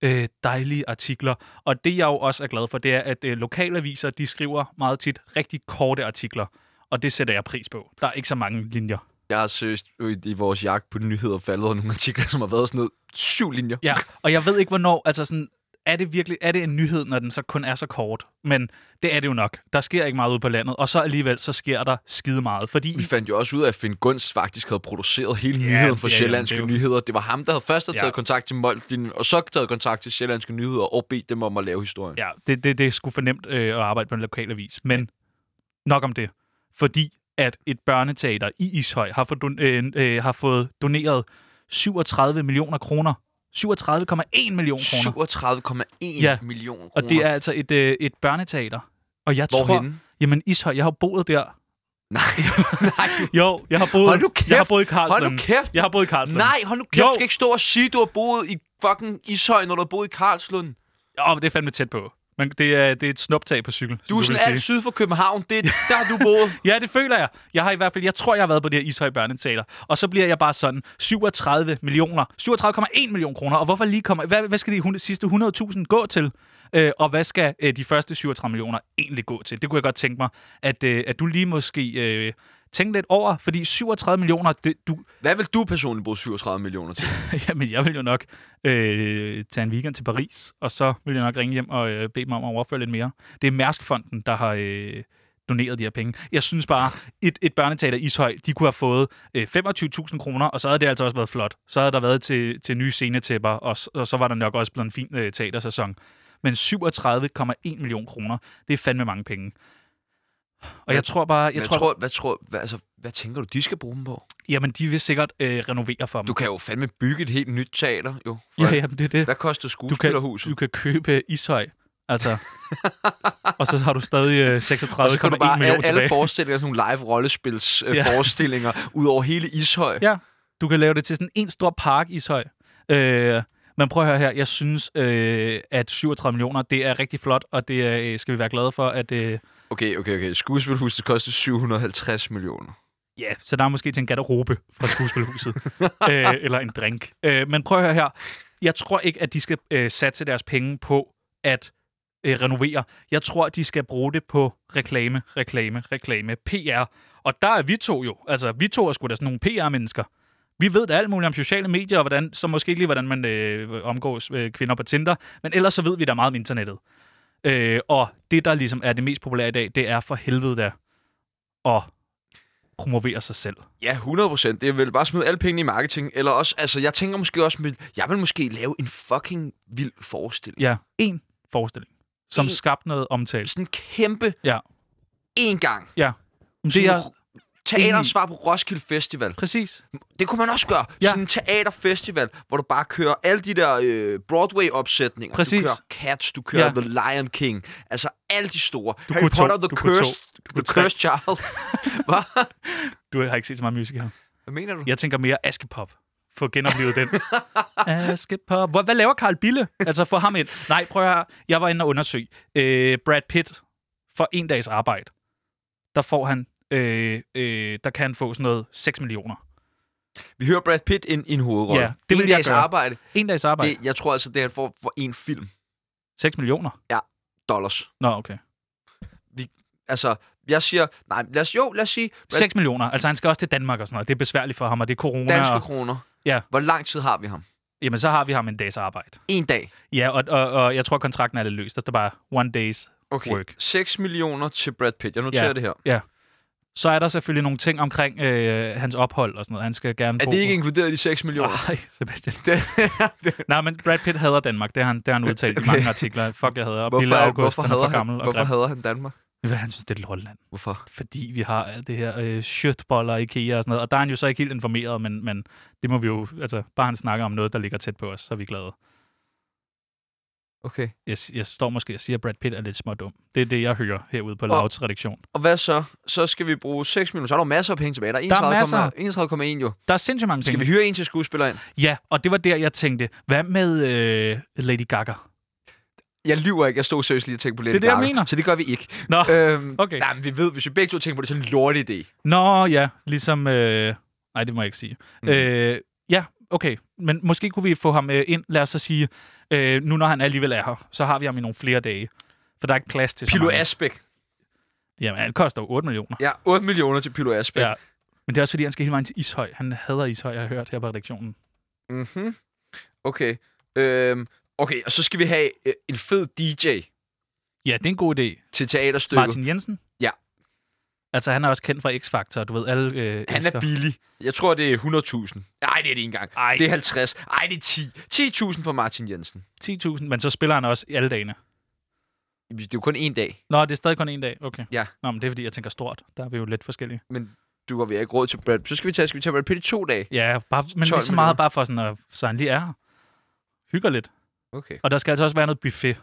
Speaker 2: øh, dejlige artikler, og det jeg jo også er glad for, det er, at øh, lokalaviser, de skriver meget tit rigtig korte artikler, og det sætter jeg pris på. Der er ikke så mange linjer.
Speaker 1: Jeg har seriøst øh, i vores jagt på nyheder faldet over nogle artikler, som har været sådan noget syv linjer.
Speaker 2: Ja, og jeg ved ikke, hvornår, altså sådan, er det virkelig, er det en nyhed, når den så kun er så kort? Men det er det jo nok. Der sker ikke meget ude på landet, og så alligevel, så sker der skide meget, fordi...
Speaker 1: Vi fandt jo også ud af, at Finn Gunst faktisk havde produceret hele
Speaker 2: Ja,
Speaker 1: nyheden for
Speaker 2: ja, ja,
Speaker 1: Sjællandske
Speaker 2: det er jo-
Speaker 1: Nyheder. Det var ham, der havde først havde
Speaker 2: Ja.
Speaker 1: taget kontakt til Moltlinjen, og så taget kontakt til Sjællandske Nyheder og bedt dem om at lave historien.
Speaker 2: Ja, det, det, det er sgu fornemt øh, at arbejde på en lokalavis, men nok om det. Fordi at et børneteater i Ishøj har, fået don- øh, øh, har fået doneret 37 millioner kroner. 37,1 millioner kroner.
Speaker 1: 37,1
Speaker 2: Ja.
Speaker 1: ja. millioner
Speaker 2: Og
Speaker 1: kroner.
Speaker 2: det er altså et, øh, et børneteater. Og jeg tror...
Speaker 1: Hvorhenne?
Speaker 2: Jamen Ishøj, jeg har jo boet der.
Speaker 1: Nej, [LAUGHS] nej, du,
Speaker 2: Jo, jeg har boet,
Speaker 1: Hold nu kæft!
Speaker 2: Jeg har boet i
Speaker 1: hold
Speaker 2: Karlslunde.
Speaker 1: nu kæft.
Speaker 2: Jeg har boet i Karlslunde.
Speaker 1: Nej, hold nu kæft.
Speaker 2: Jo.
Speaker 1: Du skal ikke stå og sige, du har boet i fucking Ishøj, når du har boet i Karlslund.
Speaker 2: Åh, men det er fandme tæt på. Men det er, det er et snuptag på cykel. som
Speaker 1: Du er
Speaker 2: vil
Speaker 1: sådan
Speaker 2: sige.
Speaker 1: alt syd for København. Det er der, har du
Speaker 2: [LAUGHS]
Speaker 1: boet.
Speaker 2: Ja, det føler jeg. Jeg har i hvert fald, jeg tror, jeg har været på det her Ishøj Børneteater. Og så bliver jeg bare sådan 37 millioner, 37,1 millioner kroner. Og hvorfor lige kommer, hvad, hvad skal de hun- sidste 100.000 gå til? Øh, og hvad skal øh, de første 37 millioner egentlig gå til? Det kunne jeg godt tænke mig, at, øh, at du lige måske øh, tænker lidt over. Fordi 37 millioner, det, du,
Speaker 1: Hvad vil du personligt bruge 37 millioner til?
Speaker 2: [LAUGHS] Jamen, jeg vil jo nok øh, tage en weekend til Paris, og så vil jeg nok ringe hjem og øh, bede mig om at overføre lidt mere. Det er Mærskfonden, der har øh, doneret de her penge. Jeg synes bare, et, et børneteater i Ishøj, de kunne have fået øh, 25.000 kroner, og så havde det altså også været flot. Så havde der været til, til nye scenetæpper, og, s- og så var der nok også blevet en fin øh, teatersæson. Men 37,1 millioner kroner, det er fandme mange penge. Og jeg tror bare, jeg,
Speaker 1: Jeg
Speaker 2: tror, tror,
Speaker 1: tror, hvad, tror, hvad, altså, hvad tænker du, de skal bruge dem på?
Speaker 2: jamen de vil sikkert øh, renovere for dem.
Speaker 1: Du kan jo fandme bygge et helt nyt teater, jo.
Speaker 2: ja, jamen, det er det.
Speaker 1: Hvad koster
Speaker 2: du kan,
Speaker 1: skuespillerhuset?
Speaker 2: du kan købe Ishøj, altså. og så har du stadig øh,
Speaker 1: Og så kan du
Speaker 2: 36,1
Speaker 1: bare
Speaker 2: millioner
Speaker 1: alle, alle
Speaker 2: tilbage.
Speaker 1: forestillinger, sådan nogle live rollespils øh,
Speaker 2: Ja. [LAUGHS]
Speaker 1: forestillinger ud over hele Ishøj.
Speaker 2: Ja. Du kan lave det til sådan en stor park, Ishøj. Øh, men prøv at høre her, jeg synes, øh, at 37 millioner, det er rigtig flot, og det er, øh, skal vi være glade for, at... Øh,
Speaker 1: Okay, okay, okay. Skuespilhuset koster 750 millioner.
Speaker 2: Ja, yeah. så der er måske til en garderobe fra skuespilhuset. øh, eller en drink. Øh, men prøv at høre her. jeg tror ikke, at de skal øh, satse deres penge på at øh, renovere. Jeg tror, at de skal bruge det på reklame, reklame, reklame, PR. Og der er vi to jo. Altså, vi to er sgu da sådan nogle PR-mennesker. Vi ved da alt muligt om sociale medier, og hvordan, så måske ikke lige, hvordan man øh, omgås øh, kvinder på Tinder, men ellers så ved vi da meget om internettet. Øh, og det, der ligesom er det mest populære i dag, det er for helvede da at promovere sig selv.
Speaker 1: Ja, 100 procent. Det er vel bare smide alle pengene i marketing. Eller også, altså, jeg tænker måske også, med- jeg vil måske lave en fucking vild forestilling.
Speaker 2: Ja, en forestilling, som
Speaker 1: Én.
Speaker 2: skabte noget omtale.
Speaker 1: Sådan en kæmpe
Speaker 2: Ja.
Speaker 1: en gang.
Speaker 2: Men Det
Speaker 1: Sådan
Speaker 2: er
Speaker 1: Teaterens svar på Roskilde Festival.
Speaker 2: præcis.
Speaker 1: Det kunne man også gøre.
Speaker 2: Ja.
Speaker 1: Ja. Sådan en teaterfestival, hvor du bare kører alle de der øh, Broadway-opsætninger.
Speaker 2: Præcis.
Speaker 1: Du kører Cats, du kører
Speaker 2: Ja.
Speaker 1: ja. The Lion King. Altså alle de store. Du
Speaker 2: kunne
Speaker 1: Harry
Speaker 2: to,
Speaker 1: Potter, The
Speaker 2: du kunne
Speaker 1: Cursed,
Speaker 2: Du,
Speaker 1: The Cursed
Speaker 2: [LAUGHS]
Speaker 1: Child. Hvad?
Speaker 2: du har ikke set så meget music her.
Speaker 1: Hvad mener du?
Speaker 2: Jeg tænker mere Askepop. Få genoplevet
Speaker 1: [LAUGHS]
Speaker 2: den. Askepop. Hvor, hvad laver Carl Bille? Altså, få ham ind. Nej, prøv at høre. Jeg var inde og undersøge. Øh, Brad Pitt, for en dags arbejde, der får han, øh, øh, der kan han få sådan noget 6 millioner.
Speaker 1: Vi hører Brad Pitt ind i en hovedrolle.
Speaker 2: Ja, det
Speaker 1: En
Speaker 2: vil jeg
Speaker 1: dags
Speaker 2: gøre.
Speaker 1: arbejde.
Speaker 2: En dags arbejde. Det...
Speaker 1: Det, jeg tror altså, det er for, for en film.
Speaker 2: 6 millioner?
Speaker 1: Dollars.
Speaker 2: Nå, okay.
Speaker 1: Altså, jeg siger... Nej, lad os, jo, lad os sige... Hvad,
Speaker 2: 6 millioner. Altså, han skal også til Danmark og sådan noget. Det er besværligt for ham, og det er corona.
Speaker 1: danske
Speaker 2: Og...
Speaker 1: kroner.
Speaker 2: Ja.
Speaker 1: Hvor lang tid har vi ham?
Speaker 2: Jamen, så har vi ham en dags arbejde.
Speaker 1: En dag.
Speaker 2: Ja, og, og, og jeg tror, kontrakten er lidt løs. Der står bare one days.
Speaker 1: Okay.
Speaker 2: Work.
Speaker 1: 6 millioner til Brad Pitt. Jeg noterer
Speaker 2: Ja.
Speaker 1: ja. det her.
Speaker 2: Så er der selvfølgelig nogle ting omkring øh, hans ophold og sådan noget. Han skal gerne
Speaker 1: Er
Speaker 2: bo
Speaker 1: det ikke
Speaker 2: på-
Speaker 1: inkluderet i de 6 millioner?
Speaker 2: Nej, Sebastian.
Speaker 1: [LAUGHS] Det,
Speaker 2: Nej, men Brad Pitt hader Danmark. Det har han, det har han udtalt i mange artikler. Fuck, jeg hader. Og
Speaker 1: Hvorfor,
Speaker 2: Bille
Speaker 1: er,
Speaker 2: August,
Speaker 1: hvorfor,
Speaker 2: han er
Speaker 1: hader
Speaker 2: for gammel
Speaker 1: han,
Speaker 2: og
Speaker 1: hvorfor
Speaker 2: grim.
Speaker 1: hader han Danmark?
Speaker 2: Ved du hvad, han synes, det er Lolland.
Speaker 1: Hvorfor?
Speaker 2: Fordi vi har alt det her øh, shirtboller, IKEA og sådan noget. Og der er han jo så ikke helt informeret, men, men det må vi jo... Altså, bare han snakker om noget, der ligger tæt på os, så er vi glade.
Speaker 1: Okay.
Speaker 2: Jeg, jeg står måske og siger, at Brad Pitt er lidt smådum. Det er det, jeg hører herude på Louds redaktion.
Speaker 1: Og hvad så? Så skal vi bruge 6 millioner. Så er der jo masser af penge tilbage. Der er
Speaker 2: Der er masser.
Speaker 1: 31,1 31, jo.
Speaker 2: Der er sindssygt mange
Speaker 1: Skal
Speaker 2: ting.
Speaker 1: vi hyre en til skuespiller ind?
Speaker 2: Ja, og det var der, jeg tænkte, hvad med øh, Lady Gaga?
Speaker 1: Jeg lyver ikke. Jeg stod seriøst lige og tænkte på Lady
Speaker 2: Det er det, jeg
Speaker 1: Gaga,
Speaker 2: mener.
Speaker 1: Så det gør vi ikke.
Speaker 2: Nå,
Speaker 1: Øhm,
Speaker 2: okay.
Speaker 1: Nej, men vi ved, hvis vi begge to tænker på det, så er det en lortig idé.
Speaker 2: Nå ja, ligesom... Øh... Nej, det må jeg ikke sige. Mm.
Speaker 1: Mm.
Speaker 2: Øh, ja, okay. Men måske kunne vi få ham øh, ind, lad os så sige, øh, nu når han alligevel er her, så har vi ham i nogle flere dage. For der er ikke plads til så
Speaker 1: Pilo
Speaker 2: mange.
Speaker 1: Asbæk.
Speaker 2: Jamen, han koster jo 8 millioner.
Speaker 1: Ja, 8 millioner til Pilo Asbæk.
Speaker 2: Ja. Men det er også fordi, han skal hele vejen til Ishøj. Han hader Ishøj, jeg har hørt her på redaktionen.
Speaker 1: Mhm. Okay. Øhm, okay, og så skal vi have øh, en fed DJ
Speaker 2: Ja, det er en god idé.
Speaker 1: til teaterstykket.
Speaker 2: Martin Jensen?
Speaker 1: Ja.
Speaker 2: Altså, han er også kendt fra X-Factor, du ved, alle øh,
Speaker 1: Han
Speaker 2: elsker.
Speaker 1: er billig. Jeg tror, det er 100.000. Nej, det er det ikke engang.
Speaker 2: Ej,
Speaker 1: Det er 50. Ej, det er 10. 10.000 for Martin Jensen.
Speaker 2: 10.000, men så spiller han også i alle dagene.
Speaker 1: Det er jo kun én dag.
Speaker 2: Nå, det er stadig kun en dag, okay.
Speaker 1: Ja.
Speaker 2: Nå, men det er fordi, jeg tænker stort. Der er vi jo lidt forskellige.
Speaker 1: Men du har vi har ikke råd til Brad Pitt. Så skal vi tage, skal vi tage Brad Pitt i to dage.
Speaker 2: Ja, bare, men
Speaker 1: 12
Speaker 2: lige så meget
Speaker 1: millioner.
Speaker 2: bare for sådan, at, så han lige er her. Hygger lidt.
Speaker 1: Okay.
Speaker 2: Og der skal altså også være noget buffet.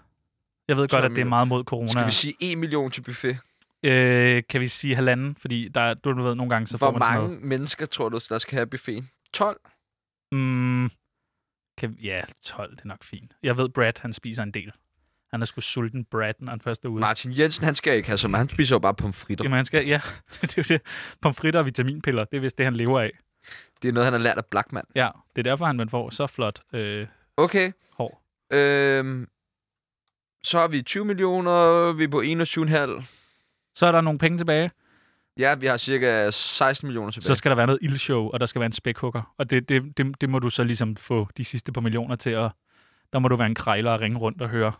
Speaker 2: Jeg ved godt,
Speaker 1: 12
Speaker 2: at det er
Speaker 1: millioner.
Speaker 2: meget mod corona.
Speaker 1: Skal vi sige 1 million til buffet?
Speaker 2: øh, kan vi sige halvanden? Fordi der, er- du ved, nogle gange, så
Speaker 1: Hvor
Speaker 2: får man sådan
Speaker 1: mange mennesker tror du, der skal have buffeten? 12?
Speaker 2: noget. Mm, kan, ja, 12, det er nok fint. Jeg ved, Brad, han spiser en del. Han er sgu sulten, Brad, når han først er ude.
Speaker 1: Martin Jensen, han skal ikke have så meget. Han spiser jo bare pomfritter.
Speaker 2: Jamen, han skal, ja, [LAUGHS] det er jo det. Pomfritter og vitaminpiller, det er vist det, han lever af.
Speaker 1: Det er noget, han har lært af Blackman.
Speaker 2: Ja, det er derfor, han man får så flot øh,
Speaker 1: Okay.
Speaker 2: hår.
Speaker 1: Øhm, så har vi 20 millioner. Vi er på 21,5.
Speaker 2: Så er der nogle penge tilbage.
Speaker 1: Ja, vi har cirka 16 millioner tilbage.
Speaker 2: Så skal der være noget ildshow, og der skal være en spækhugger. Og det, det, det, det må du så ligesom få de sidste par millioner til at... Der må du være en krejler og ringe rundt og høre.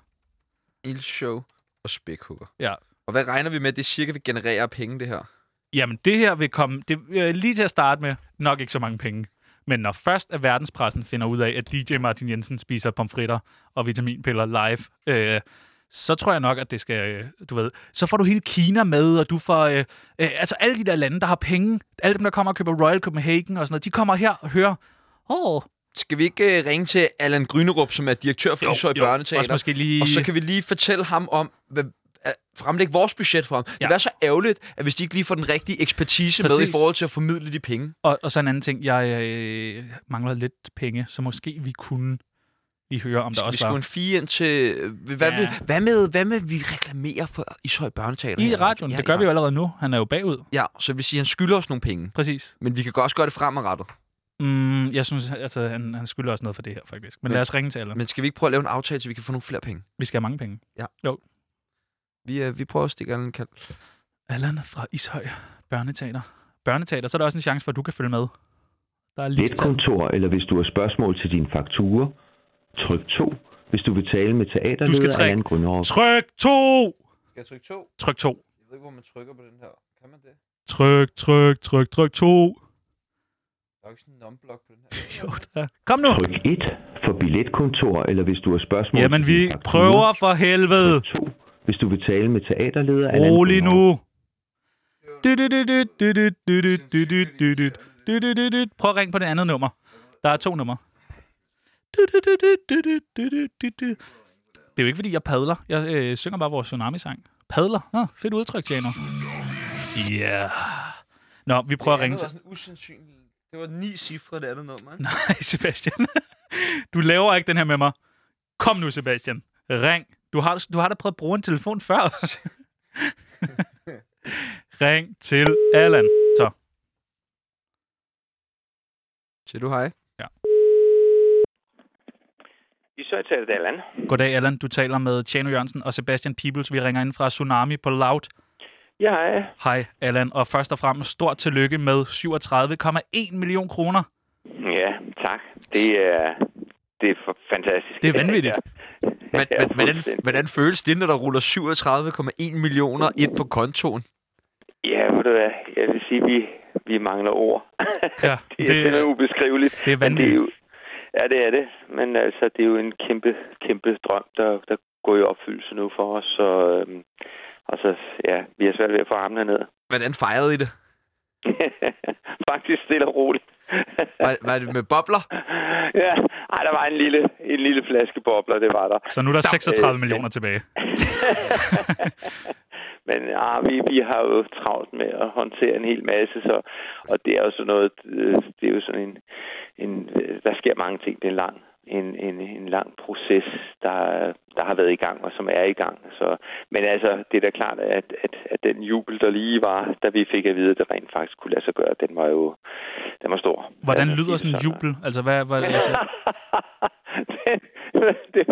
Speaker 1: ildshow og spækhugger.
Speaker 2: Ja.
Speaker 1: Og hvad regner vi med? Det er cirka, vi genererer af penge, det her.
Speaker 2: Jamen, det her vil komme... Det, øh, lige til at starte med, nok ikke så mange penge. Men når først at verdenspressen finder ud af, at DJ Martin Jensen spiser pomfritter og vitaminpiller live, øh, så tror jeg nok, at det skal, øh, du ved, så får du hele Kina med, og du får, øh, øh, altså alle de der lande, der har penge, alle dem, der kommer og køber Royal Copenhagen og sådan noget, de kommer her og hører, åh, oh,
Speaker 1: Skal vi ikke øh, ringe til Allan Grynerup, som er direktør for Ishøj
Speaker 2: også
Speaker 1: Børneteater?
Speaker 2: måske lige...
Speaker 1: Og så kan vi lige fortælle ham om, hvad, at fremlægge vores budget for ham. Ja. Det
Speaker 2: Ja.
Speaker 1: vil være så ærgerligt, at hvis de ikke lige får den rigtige ekspertise Præcis. med
Speaker 2: Præcis.
Speaker 1: i forhold til at formidle de penge.
Speaker 2: Og, og så en anden ting, jeg øh, mangler lidt penge, så måske vi kunne lige høre, om der
Speaker 1: Skal vi
Speaker 2: også
Speaker 1: skrive
Speaker 2: var...
Speaker 1: en fire ind til... øh, Hvad,
Speaker 2: Ja.
Speaker 1: ja. vil, hvad, med, hvad med, vi reklamerer for Ishøj Børneteater?
Speaker 2: I
Speaker 1: her?
Speaker 2: radioen,
Speaker 1: Ja,
Speaker 2: det
Speaker 1: i
Speaker 2: gør vi jo
Speaker 1: radioen.
Speaker 2: allerede nu. Han er jo bagud,
Speaker 1: Ja, så det vil sige, at han skylder os nogle penge.
Speaker 2: præcis.
Speaker 1: Men vi kan også gøre det fremadrettet.
Speaker 2: Mm, jeg synes, altså, han, han skylder os noget for det her, faktisk. Men,
Speaker 1: Men-
Speaker 2: lad os ringe til Allan.
Speaker 1: Men skal vi ikke prøve at lave en aftale, så vi kan få nogle flere penge?
Speaker 2: Vi skal have mange penge.
Speaker 1: Vi, øh, vi prøver at stikke en kald.
Speaker 2: Allan fra Ishøj Børneteater. Børneteater, så er der også en chance for, at du kan følge med. Der er lige
Speaker 3: netkontor, eller hvis du har spørgsmål til dine fakturer, tryk 2. Hvis du vil tale med
Speaker 2: Du skal
Speaker 3: teaterleder
Speaker 2: trække-
Speaker 3: Allan Grønhøj.
Speaker 2: Tryk 2!
Speaker 1: Skal jeg trykke to?
Speaker 2: Tryk 2.
Speaker 1: Jeg ved ikke, hvor man trykker på den her. Kan man det?
Speaker 2: Tryk, tryk, tryk, tryk 2.
Speaker 1: Der er jo ikke sådan en non-block på den her.
Speaker 2: Jo, der. Kom nu!
Speaker 3: Tryk 1 for billetkontor, eller hvis du har spørgsmål
Speaker 2: Jamen,
Speaker 3: til dine
Speaker 2: vi
Speaker 3: fakturer.
Speaker 2: prøver for helvede.
Speaker 3: Tryk 2. Hvis du vil tale med teaterleder Allan
Speaker 2: Rolig
Speaker 3: Grønhøj.
Speaker 2: nu. Du-du-du-du-du-du-du-du-du-du-du-du-du-du. Prøv at ringe på det andet nummer. Der er to numre. Du-du-du-du-du-du-du-du-du. Det er jo ikke, fordi jeg padler. Jeg øh, synger bare vores tsunami-sang. Padler. Nå, fedt udtryk, Tjano. Ja. Yeah. Nå, vi prøver at ringe til...
Speaker 1: sådan usandsynligt. Det var ni cifre, det andet nummer. ikke?
Speaker 2: Nej, [LAUGHS] Sebastian. Du laver ikke den her med mig. Kom nu, Sebastian. Ring. Du har, du har da prøvet at bruge en telefon før.
Speaker 4: [LAUGHS]
Speaker 2: Ring til Allan. Så.
Speaker 1: Siger du hej?
Speaker 4: I så taler det Allan.
Speaker 2: Goddag, Allan. Du taler med Tjano Jørgensen og Sebastian Peebles. Vi ringer ind fra Tsunami på Loud.
Speaker 4: Ja, hej.
Speaker 2: Hej, Allan. Og først og fremmest stort tillykke med 37,1 million kroner.
Speaker 4: Ja, tak. Det er, det er f- fantastisk.
Speaker 2: Det er vanvittigt.
Speaker 1: Hvad,
Speaker 4: [LAUGHS] [LAUGHS] Ja,
Speaker 1: ja, hvordan,
Speaker 4: fuldstændig.
Speaker 1: hvordan føles det, når der ruller 37,1 millioner ind på kontoen?
Speaker 4: Ja, ved du hvad, jeg vil sige, vi, vi mangler ord.
Speaker 2: Ja,
Speaker 4: det, det, er, det er ubeskriveligt.
Speaker 2: det er
Speaker 4: Men Det er
Speaker 2: vanvittigt.
Speaker 4: jo, ja, det er det. Men altså, det er jo en kæmpe, kæmpe drøm, der, der går i opfyldelse nu for os. Så, øhm, og så, ja, vi har svært ved at få armene ned. [LAUGHS]
Speaker 1: Hvordan fejrede I det?
Speaker 4: Faktisk stille og roligt. [LAUGHS]
Speaker 1: Var, var det med bobler?
Speaker 4: ja, ej, der var en lille, en lille flaske bobler, det var der.
Speaker 2: Så nu er der 36
Speaker 4: Øh,
Speaker 2: millioner tilbage.
Speaker 4: [LAUGHS] Men ja, vi, vi har jo travlt med at håndtere en hel masse, så, og det er jo sådan noget, øh, det er jo sådan en, en øh, der sker mange ting, det er en lang, en, en, en lang proces, der, der har været i gang, og som er i gang. Så, men altså, det er da klart, at, at, at den jubel, der lige var, da vi fik at vide, at det rent faktisk kunne lade sig gøre, den var jo den var stor.
Speaker 2: Hvordan
Speaker 4: Altså,
Speaker 2: lyder
Speaker 4: det er
Speaker 2: sådan en jubel? Altså, hvad, hvad, altså,
Speaker 4: [LAUGHS] det, det,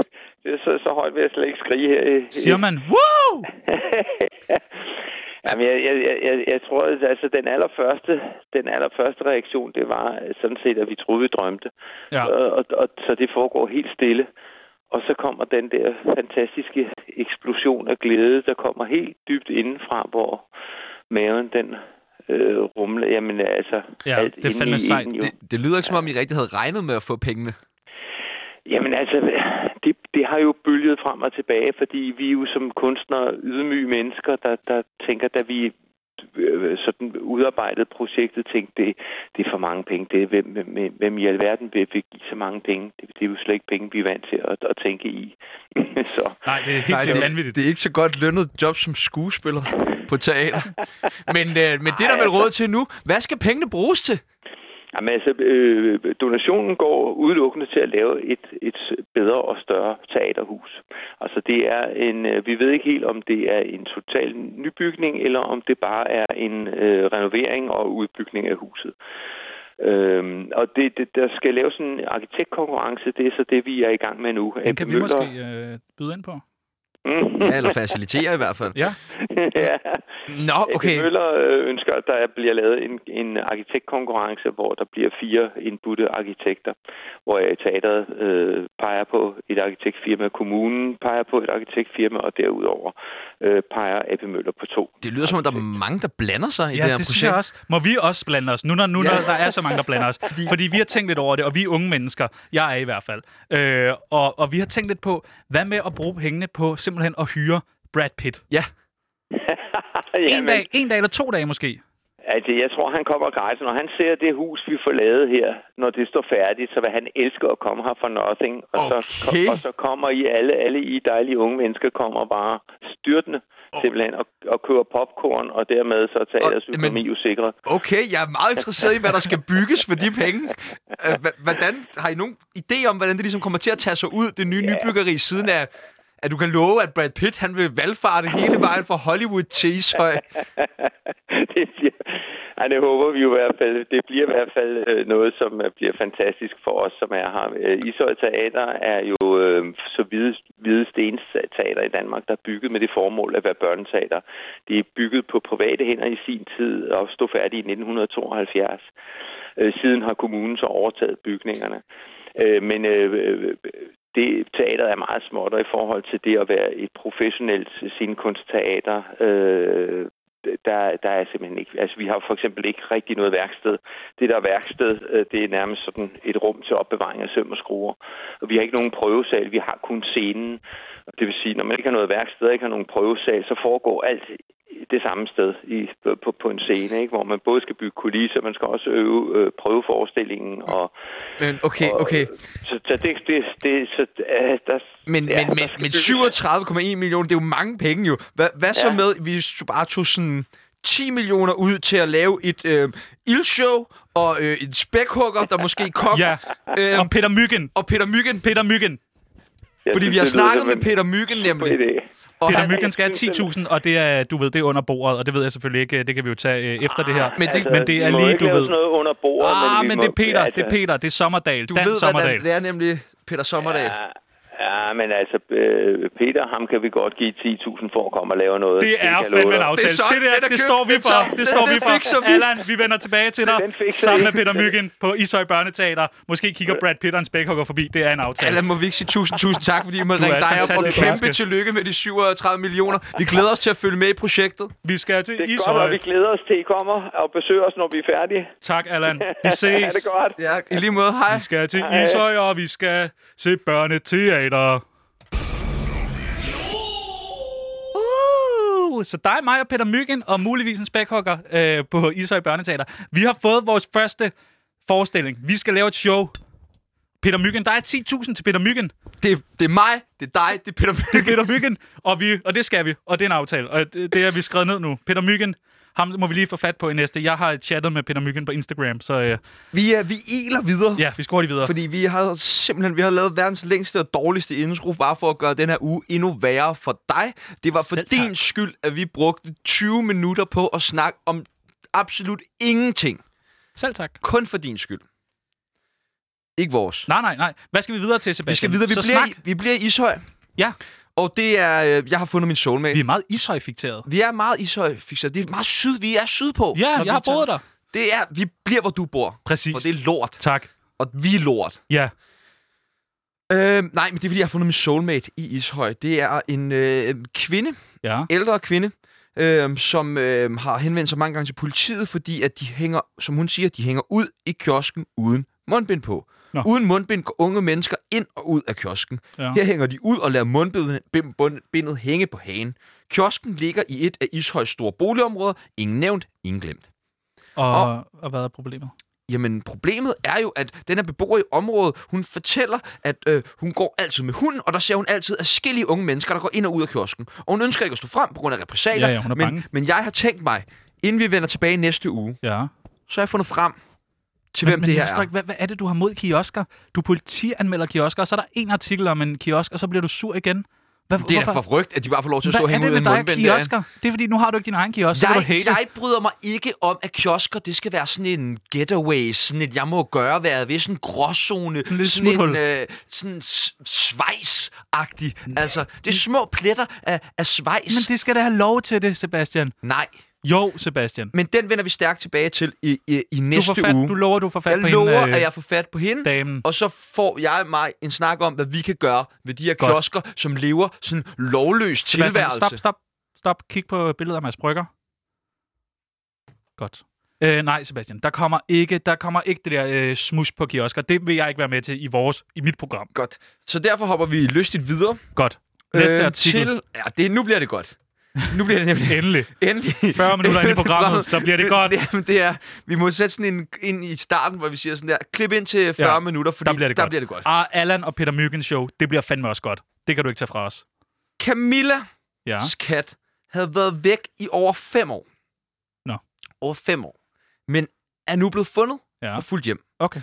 Speaker 4: det, er så, så højt vil jeg slet ikke skrige her. i- i-
Speaker 2: siger man, wow!
Speaker 4: [LAUGHS] Jamen, jeg, jeg, jeg- jeg, jeg tror, at altså, den, allerførste, den allerførste reaktion, det var sådan set, at vi troede, vi drømte.
Speaker 2: Ja.
Speaker 4: Og, og, og, så det foregår helt stille. Og så kommer den der fantastiske eksplosion af glæde, der kommer helt dybt indenfra, hvor maven den øh, rumler. Jamen altså,
Speaker 2: Ja,
Speaker 4: alt
Speaker 2: det er
Speaker 4: inde
Speaker 2: fandme
Speaker 4: i
Speaker 2: sejt.
Speaker 4: en jo.
Speaker 1: Det, det lyder ikke, som om I rigtig havde regnet med at få pengene.
Speaker 4: Jamen altså, det, det har jo bølget frem og tilbage, fordi vi er jo som kunstnere ydmyge mennesker, der, der tænker, da vi øh, sådan udarbejdede projektet, tænkte, det, det er for mange penge. Det, er, hvem, hvem, hvem i alverden vil, vil give så mange penge? Det, det er jo slet ikke penge, vi er vant til at, at tænke i. [LAUGHS] så
Speaker 2: Nej, det er helt
Speaker 1: Nej,
Speaker 2: det er
Speaker 1: det,
Speaker 2: vanvittigt.
Speaker 1: det er ikke så godt lønnet job som skuespiller på
Speaker 4: [LAUGHS]
Speaker 1: teater. Men, øh, men det er der vel råd til nu. Hvad skal pengene bruges til?
Speaker 4: Jamen altså, øh, donationen går udelukkende til at lave et, et bedre og større teaterhus. Altså det er en, øh, vi ved ikke helt, om det er en total nybygning, eller om det bare er en øh, renovering og udbygning af huset. Øhm, og det, det, der skal laves en arkitektkonkurrence, det er så det, vi er i gang med nu.
Speaker 2: Den
Speaker 4: AP
Speaker 2: kan vi
Speaker 4: Møller-
Speaker 2: måske øh, byde ind på.
Speaker 4: Mm.
Speaker 1: Ja, eller facilitere i
Speaker 4: [LAUGHS]
Speaker 1: hvert fald.
Speaker 2: Ja.
Speaker 4: ja.
Speaker 1: Nå,
Speaker 4: Okay.
Speaker 1: okay.
Speaker 4: Møller øh, ønsker, at der bliver lavet en, en arkitektkonkurrence, hvor der bliver fire indbudte arkitekter, hvor øh, teateret øh, peger på et arkitektfirma, kommunen peger på et arkitektfirma, og derudover øh, peger AP Møller på to.
Speaker 1: Det lyder som om, der er mange, der blander sig i
Speaker 2: Ja,
Speaker 1: det her
Speaker 2: det synes
Speaker 1: projekt.
Speaker 2: jeg også. Må vi også blande os? Nu når, nu, når
Speaker 1: Ja.
Speaker 2: der er så mange, der blander
Speaker 1: [LAUGHS]
Speaker 2: os. Fordi... Fordi vi har tænkt lidt over det, og vi er unge mennesker. Jeg er i hvert fald. Øh, og, og vi har tænkt lidt på, hvad med at bruge pengene på simpelthen at hyre Brad Pitt?
Speaker 1: Ja,
Speaker 2: En dag, en dag eller to dage
Speaker 1: [LAUGHS]
Speaker 2: måske.
Speaker 4: Altså, jeg tror, han kommer gratis. Når han ser det hus, vi får lavet her, når det står færdigt, så vil han elske at komme her for nothing. Og,
Speaker 1: Okay.
Speaker 4: så, og så kommer I alle, alle I dejlige unge mennesker, kommer bare styrtende oh. simpelthen og, og køber popcorn, og dermed så tager
Speaker 1: Og-
Speaker 4: deres økonomi
Speaker 1: men-
Speaker 4: jo sikret.
Speaker 1: okay, jeg er meget interesseret i, hvad der skal bygges for de penge. Øh, hva- Hvordan, har I nogen idé om, hvordan det ligesom kommer til at tage sig ud, det nye nybyggeri, siden af, at du kan love, at Brad Pitt han vil valfarte hele vejen fra Hollywood til Ishøj?
Speaker 4: det bliver... Nej, det håber vi jo i hvert fald. Det bliver i hvert fald øh, noget, som øh, bliver fantastisk for os, som er her. Øh, Ishøj Teater er jo øh, så hvide, hvide stens teater i Danmark, der er bygget med det formål at være børneteater. Det er bygget på private hænder i sin tid og stod færdigt i 1972. Øh, siden har kommunen så overtaget bygningerne. Øh, men øh, det teateret er meget småt, og i forhold til det at være et professionelt scenekunstteater, øh, der, der er simpelthen ikke... Altså, vi har for eksempel ikke rigtig noget værksted. Det, der er værksted, øh, det er nærmest sådan et rum til opbevaring af søm og skruer. Og vi har ikke nogen prøvesal, vi har kun scenen. Det vil sige, når man ikke har noget værksted og ikke har nogen prøvesal, så foregår alt det samme sted i, på, på en scene, ikke? hvor man både skal bygge kulisser, man skal også øve øh, prøveforestillingen. Og,
Speaker 1: Men Mm. okay,
Speaker 4: og, øh,
Speaker 1: okay.
Speaker 4: Så, så det, det, det så, øh, der,
Speaker 1: Men,
Speaker 4: ja,
Speaker 1: ja, men,
Speaker 4: der
Speaker 1: men,
Speaker 4: skal
Speaker 1: men
Speaker 4: bygges-
Speaker 1: 37,1 millioner, det er jo mange penge jo. Hvad, hvad så
Speaker 4: Ja.
Speaker 1: med, hvis du bare tog sådan 10 millioner ud til at lave et øh, ildshow og øh, en spækhugger, der måske kom.
Speaker 2: Ja.
Speaker 1: Øhm,
Speaker 2: Og Øh, Peter Myggen.
Speaker 1: og Peter Myggen.
Speaker 2: Peter Myggen.
Speaker 4: Jeg
Speaker 1: Fordi
Speaker 4: synes,
Speaker 1: vi har
Speaker 4: det lyder
Speaker 1: snakket
Speaker 4: som
Speaker 1: med
Speaker 4: en
Speaker 1: Peter Myggen
Speaker 4: god
Speaker 1: nemlig.
Speaker 4: idé.
Speaker 1: Og
Speaker 2: Peter
Speaker 1: han,
Speaker 2: Myggen skal have 10.000, og det er, du ved, det er under bordet, og det ved jeg selvfølgelig ikke. øh, Det kan vi jo tage øh, efter det her.
Speaker 1: Men det-
Speaker 2: men det er
Speaker 4: Altså, vi må
Speaker 2: lige,
Speaker 4: ikke
Speaker 2: du
Speaker 4: lave
Speaker 2: ved.
Speaker 4: sådan noget under bordet.
Speaker 2: ah,
Speaker 4: vi
Speaker 2: men
Speaker 4: må,
Speaker 2: det er Peter,
Speaker 4: altså,
Speaker 2: det er Peter, det er Sommerdal.
Speaker 1: du
Speaker 2: Dan
Speaker 1: ved,
Speaker 2: Sommerdal.
Speaker 1: hvad det er nemlig Peter Sommerdal. Ja.
Speaker 4: Ja, ja, men altså, øh, Peter, ham kan vi godt give 10.000 for at komme og lave noget.
Speaker 2: Det er
Speaker 4: kan jeg love
Speaker 2: fandme en
Speaker 4: dig.
Speaker 2: aftale.
Speaker 1: Det er sådan,
Speaker 2: Det, der,
Speaker 1: den er
Speaker 2: det
Speaker 1: købt,
Speaker 2: står vi
Speaker 1: den
Speaker 2: for.
Speaker 1: tager-
Speaker 2: Det står
Speaker 1: den-
Speaker 2: vi
Speaker 1: den
Speaker 2: for.
Speaker 1: fikser vi.
Speaker 2: Allan, vi vender tilbage til dig
Speaker 4: Den fikser
Speaker 2: sammen
Speaker 4: vi.
Speaker 2: med Peter Myggen på Ishøj Børneteater. Måske kigger Brad Pitt og en spækhugger forbi. Det er en aftale.
Speaker 1: Allan, må vi ikke sige tusind, tusind tak, fordi I må
Speaker 2: Du er
Speaker 1: ringe
Speaker 2: et
Speaker 1: dig op, og
Speaker 2: fantastisk
Speaker 1: kæmpe
Speaker 2: menneske.
Speaker 1: tillykke med de 37 millioner. Vi glæder os til at følge med i projektet.
Speaker 2: Vi skal til
Speaker 4: Det er godt, og
Speaker 2: Ishøj.
Speaker 4: vi glæder os til, at I kommer og besøger os, når vi er færdige.
Speaker 2: Tak, Allan. Vi
Speaker 4: Ja,
Speaker 2: ses.
Speaker 4: det er godt.
Speaker 1: Ja, i lige måde, hej.
Speaker 2: Vi skal til
Speaker 4: Hej.
Speaker 2: Ishøj, og vi skal se børneteater. Uh, Så dig, mig og Peter Myggen og muligvis en spækhugger øh, på Ishøj Børneteater. Vi har fået vores første forestilling. Vi skal lave et show. Peter Myggen, der er 10.000 til Peter Myggen.
Speaker 1: Det, er- det er mig, det er dig, det er Peter
Speaker 2: Det er
Speaker 1: Myggen.
Speaker 2: Peter Myggen, og, vi, og det skal vi. Og det er en aftale, og det, det er vi skrevet ned nu. Peter Myggen, ham må vi lige få fat på i næste. Jeg har chattet med Peter Myggen på Instagram, så øh,
Speaker 1: Vi, er, vi iler videre.
Speaker 2: ja, vi skal hurtigt videre.
Speaker 1: Fordi vi har simpelthen vi har lavet verdens længste og dårligste intro, bare for at gøre den her uge endnu værre for dig. Det var for
Speaker 2: Selv tak.
Speaker 1: din skyld, at vi brugte 20 minutter på at snakke om absolut ingenting.
Speaker 2: Selv tak.
Speaker 1: Kun for din skyld. Ikke vores.
Speaker 2: Nej, nej, nej. Hvad skal vi videre til,
Speaker 1: Vi skal
Speaker 2: Sebastian?
Speaker 1: videre. Vi,
Speaker 2: så
Speaker 1: bliver,
Speaker 2: snak.
Speaker 1: i, vi bliver i Ishøj.
Speaker 2: Ja.
Speaker 1: Og det er... øh, Jeg har fundet min soulmate.
Speaker 2: Vi
Speaker 1: Vi,
Speaker 2: er meget ishøjfikteret.
Speaker 1: vi er meget ishøj fikser. Det er meget syd. Vi er sydpå.
Speaker 2: Ja,
Speaker 1: når vi
Speaker 2: jeg har
Speaker 1: tager-
Speaker 2: boet der.
Speaker 1: Det er... Vi bliver, hvor du bor.
Speaker 2: Præcis.
Speaker 1: For det er lort.
Speaker 2: Tak.
Speaker 1: Og vi er lort.
Speaker 2: Ja.
Speaker 1: Øh, nej, men det er, fordi jeg har fundet min soulmate i Ishøj. Det er en øh, kvinde,
Speaker 2: Ja.
Speaker 1: ældre kvinde, øh, som øh, har henvendt sig mange gange til politiet, fordi at de hænger, som hun siger, de hænger ud i kiosken uden mundbind på.
Speaker 2: Nå.
Speaker 1: Nå. Uden mundbind går unge mennesker ind og ud af kiosken.
Speaker 2: Ja.
Speaker 1: Her hænger de ud og lader mundbindet bin- bund- bindet hænge på hagen. Kiosken ligger i et af Ishøjs store boligområder. Ingen nævnt, ingen glemt.
Speaker 2: Og,
Speaker 1: Og-
Speaker 2: og, hvad er problemet?
Speaker 1: Jamen, problemet er jo, at den her beboer i området, hun fortæller, at øh, hun går altid med hunden, og der ser hun altid forskellige unge mennesker, der går ind og ud af kiosken. Og hun ønsker ikke at stå frem på grund af repressalier,
Speaker 2: Ja, ja, hun er bange.
Speaker 1: men, men jeg har tænkt mig, inden vi vender tilbage næste uge,
Speaker 2: Ja.
Speaker 1: så har jeg fundet frem til, hvem
Speaker 2: men,
Speaker 1: det
Speaker 2: men
Speaker 1: her
Speaker 2: jeg forstår
Speaker 1: er.
Speaker 2: ikke, hvad, hvad er det, du har mod kiosker? Du politianmelder kiosker, og så er der en artikel om en kiosk, og så bliver du sur igen. Hvad,
Speaker 1: Det er da
Speaker 2: hvorfor?
Speaker 1: forrygt, at de bare får lov til at stå og
Speaker 2: Hvad er
Speaker 1: hænge ud
Speaker 2: det
Speaker 1: af
Speaker 2: med
Speaker 1: en
Speaker 2: dig og
Speaker 1: mundbind. derinde.
Speaker 2: kiosker? Det er fordi, nu har du ikke din egen kiosk, så kan du
Speaker 1: Jeg,
Speaker 2: hate.
Speaker 1: jeg bryder mig ikke om, at kiosker, det skal være sådan en getaway, sådan et, jeg må gøre, hvad jeg vil, sådan en gråzone,
Speaker 2: Sådan lidt
Speaker 1: sådan en
Speaker 2: smuthul.
Speaker 1: øh, sådan s- svejs-agtig. Altså, det er små pletter af, af svejs.
Speaker 2: Men det skal da have lov til det, Sebastian.
Speaker 1: Nej,
Speaker 2: Jo, Sebastian.
Speaker 1: men den vender vi stærkt tilbage til i, i, i
Speaker 2: Du,
Speaker 1: næste
Speaker 2: får fat,
Speaker 1: uge.
Speaker 2: du lover, du får fat
Speaker 1: jeg
Speaker 2: på
Speaker 1: lover,
Speaker 2: hende, øh,
Speaker 1: at jeg får fat på hende,
Speaker 2: damen.
Speaker 1: og så får jeg og mig en snak om, hvad vi kan gøre ved de her
Speaker 2: Godt.
Speaker 1: kiosker, som lever sådan lovløs
Speaker 2: Sebastian,
Speaker 1: tilværelse.
Speaker 2: Stop, stop, stop. Kig på billedet af Mads Brygger. Godt. Øh, nej, Sebastian, der kommer ikke, der kommer ikke det der øh, smus på kiosker. Det vil jeg ikke være med til i vores, i mit program.
Speaker 1: Godt. Så derfor hopper vi lystigt videre.
Speaker 2: Godt. Næste øh, artikel. Til...
Speaker 1: Til, ja, det, nu bliver det godt. Nu bliver det
Speaker 2: [LAUGHS]
Speaker 1: nemlig
Speaker 2: Endelig.
Speaker 1: [LAUGHS] endelig...
Speaker 2: 40 minutter ind i programmet, så bliver det godt.
Speaker 1: Jamen, det er, vi må sætte sådan en ind i starten, hvor vi siger sådan der, klip ind til 40
Speaker 2: Ja,
Speaker 1: ja, minutter, fordi
Speaker 2: der bliver det
Speaker 1: der
Speaker 2: godt.
Speaker 1: bliver det godt.
Speaker 2: Ah, Allan og Peter Myggen show, det bliver fandme også godt. Det kan du ikke tage fra os.
Speaker 1: Camilla
Speaker 2: Ja.
Speaker 1: hans kat havde været væk i over fem år.
Speaker 2: Nå.
Speaker 1: Over fem år. Men er nu blevet fundet
Speaker 2: Ja.
Speaker 1: ja. og fuldt hjem.
Speaker 2: Okay.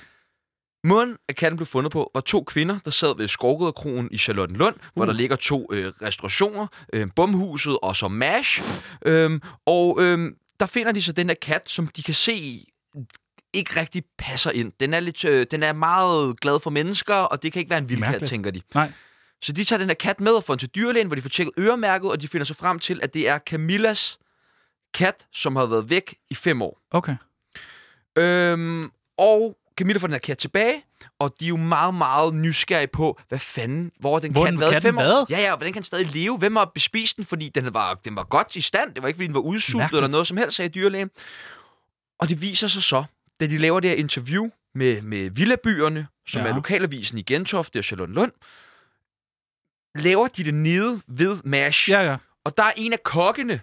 Speaker 1: Måden, at katten blev fundet på, var to kvinder, der sad ved Skovgøderkronen i Charlottenlund, uh. hvor
Speaker 2: Uh.
Speaker 1: der ligger to øh, restaurationer, øh, Bumhuset og så MASH. Øhm, og øhm, der finder de så den der kat, som de kan se ikke rigtig passer ind. Den er, lidt, øh, den er meget glad for mennesker, og det kan ikke være en vild kat,
Speaker 2: Mærkeligt.
Speaker 1: tænker de.
Speaker 2: Nej.
Speaker 1: Så de tager den her kat med og får den til dyrlægen, hvor de får tjekket øremærket, og de finder så frem til, at det er Camillas kat, som har været væk i fem år.
Speaker 2: Okay.
Speaker 1: Øhm, og Camilla får den her kat tilbage, og de er jo meget, meget nysgerrige på, hvad fanden, hvor har den
Speaker 2: Hvor
Speaker 1: kat
Speaker 2: den
Speaker 1: været i
Speaker 2: katten
Speaker 1: fem år?
Speaker 2: været?
Speaker 1: Ja, ja, og hvordan kan den stadig leve? Hvem har bespist den? Fordi den var, den var godt i stand. Det var ikke, fordi den var udsultet
Speaker 2: Mærkeligt.
Speaker 1: eller noget som helst, sagde dyrlægen. Og det viser sig så, da de laver det her interview med, med Villabyerne, som ja.
Speaker 2: Ja.
Speaker 1: er lokalavisen i Gentofte og Charlotte Lund, laver de det nede ved MASH.
Speaker 2: Ja, ja.
Speaker 1: Og der er en af kokkene,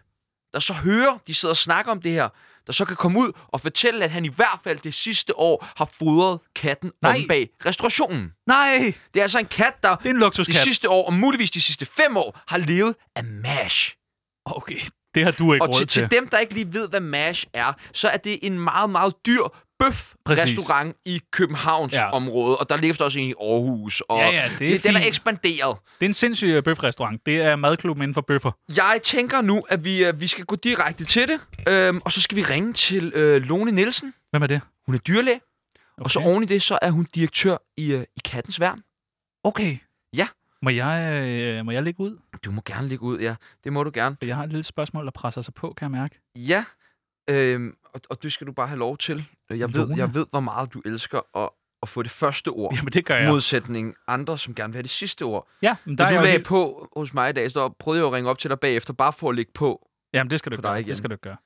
Speaker 1: der så hører, de sidder og snakker om det her, der så kan komme ud og fortælle, at han i hvert fald det sidste år har fodret katten Nej.
Speaker 2: Nej.
Speaker 1: om bag restaurationen.
Speaker 2: Nej,
Speaker 1: Det er altså en kat, der
Speaker 2: det er en
Speaker 1: de
Speaker 2: luksuskat.
Speaker 1: sidste år, og muligvis de sidste fem år, har levet af MASH.
Speaker 2: Okay, det har du ikke
Speaker 1: Og
Speaker 2: råd
Speaker 1: til,
Speaker 2: til.
Speaker 1: til dem, der ikke lige ved, hvad MASH er, så er det en meget, meget dyr bøf-restaurant i Københavns ja.
Speaker 2: Ja.
Speaker 1: område. Og der ligger vist også en i Aarhus. Og
Speaker 2: Ja, ja, det er
Speaker 1: det, den er
Speaker 2: fint.
Speaker 1: ekspanderet.
Speaker 2: Det er en sindssyg øh, bøfrestaurant. Det er madklubben inden for bøffer.
Speaker 1: Jeg tænker nu, at vi, øh, vi skal gå direkte til det, øhm, og så skal vi ringe til øh, Lone Nielsen.
Speaker 2: Hvem er det?
Speaker 1: Hun er dyrlæge, okay.
Speaker 2: Okay.
Speaker 1: og så oven i det, så er hun direktør i, øh, i Kattens Værn.
Speaker 2: Okay.
Speaker 1: Ja.
Speaker 2: Må jeg, øh, må jeg lægge ud?
Speaker 1: Du må gerne ligge ud, ja. Det må du gerne.
Speaker 2: Jeg har et lille spørgsmål, der presser sig på, kan jeg mærke.
Speaker 1: Ja, øhm, og, og det skal du bare have lov til. Øh, Jeg ved,
Speaker 2: Lone.
Speaker 1: jeg ved hvor meget du elsker at, at få det første ord.
Speaker 2: Jamen, det gør jeg.
Speaker 1: Modsætning andre, som gerne vil have det sidste ord.
Speaker 2: Ja, men
Speaker 1: Da
Speaker 2: der er
Speaker 1: du
Speaker 2: jeg jo
Speaker 1: lagde
Speaker 2: helt...
Speaker 1: på hos mig i dag, så prøvede jeg jo at ringe op til dig bagefter, bare for at lægge på.
Speaker 2: Jamen, det skal du
Speaker 1: på
Speaker 2: gøre.
Speaker 1: dig igen.
Speaker 2: Det skal du gøre.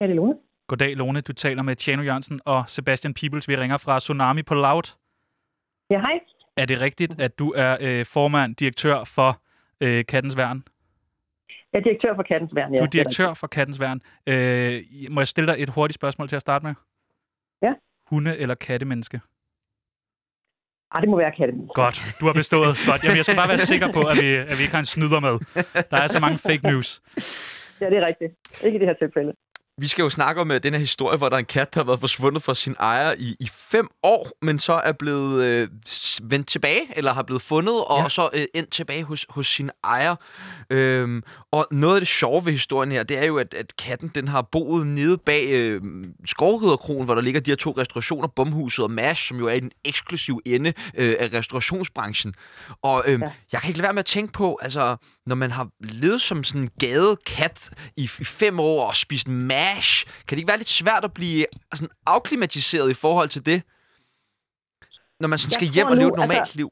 Speaker 5: Ja, det er Lone.
Speaker 2: Goddag, Lone. Du taler med Tjano Jørgensen og Sebastian Peebles. Vi ringer fra Tsunami på Loud.
Speaker 5: Ja, hej.
Speaker 2: Er det rigtigt, at du er øh, formand, direktør for øh, Kattens Værn?
Speaker 5: Jeg er direktør for Kattens Værn. Ja.
Speaker 2: Du er direktør for Kattens Værn. Øh, må jeg stille dig et hurtigt spørgsmål til at starte med?
Speaker 5: Ja.
Speaker 2: Hunde- eller kattemenneske?
Speaker 5: Ah, det må være katten.
Speaker 2: Godt, du har bestået. Godt. Jamen, jeg skal bare være sikker på, at vi, at vi ikke har en snyder med. Der er så mange fake news.
Speaker 5: Ja, det er rigtigt. Ikke i det her tilfælde.
Speaker 1: Vi skal jo snakke om uh, den her historie, hvor der er en kat, der har været forsvundet fra sin ejer i, i fem år, men så er blevet øh, s- vendt tilbage, eller har blevet fundet, og ja.
Speaker 2: Ja.
Speaker 1: så øh, endt tilbage hos, hos sin ejer. Øhm, og noget af det sjove ved historien her, det er jo, at, at katten den har boet nede bag øh, Skovriderkronen, hvor der ligger de her to restaurationer, Bumhuset og Mash, som jo er i den eksklusive ende øh, af restaurationsbranchen. Og øhm, ja.
Speaker 5: Ja.
Speaker 1: jeg kan ikke lade være med at tænke på, altså, når man har levet som sådan en gadekat i, i fem år og spist mash, kan det ikke være lidt svært at blive øh, sådan afklimatiseret i forhold til det? Når man sådan
Speaker 5: Jeg
Speaker 1: skal
Speaker 5: tror
Speaker 1: hjem og
Speaker 5: nu,
Speaker 1: leve et
Speaker 5: altså-
Speaker 1: normalt liv.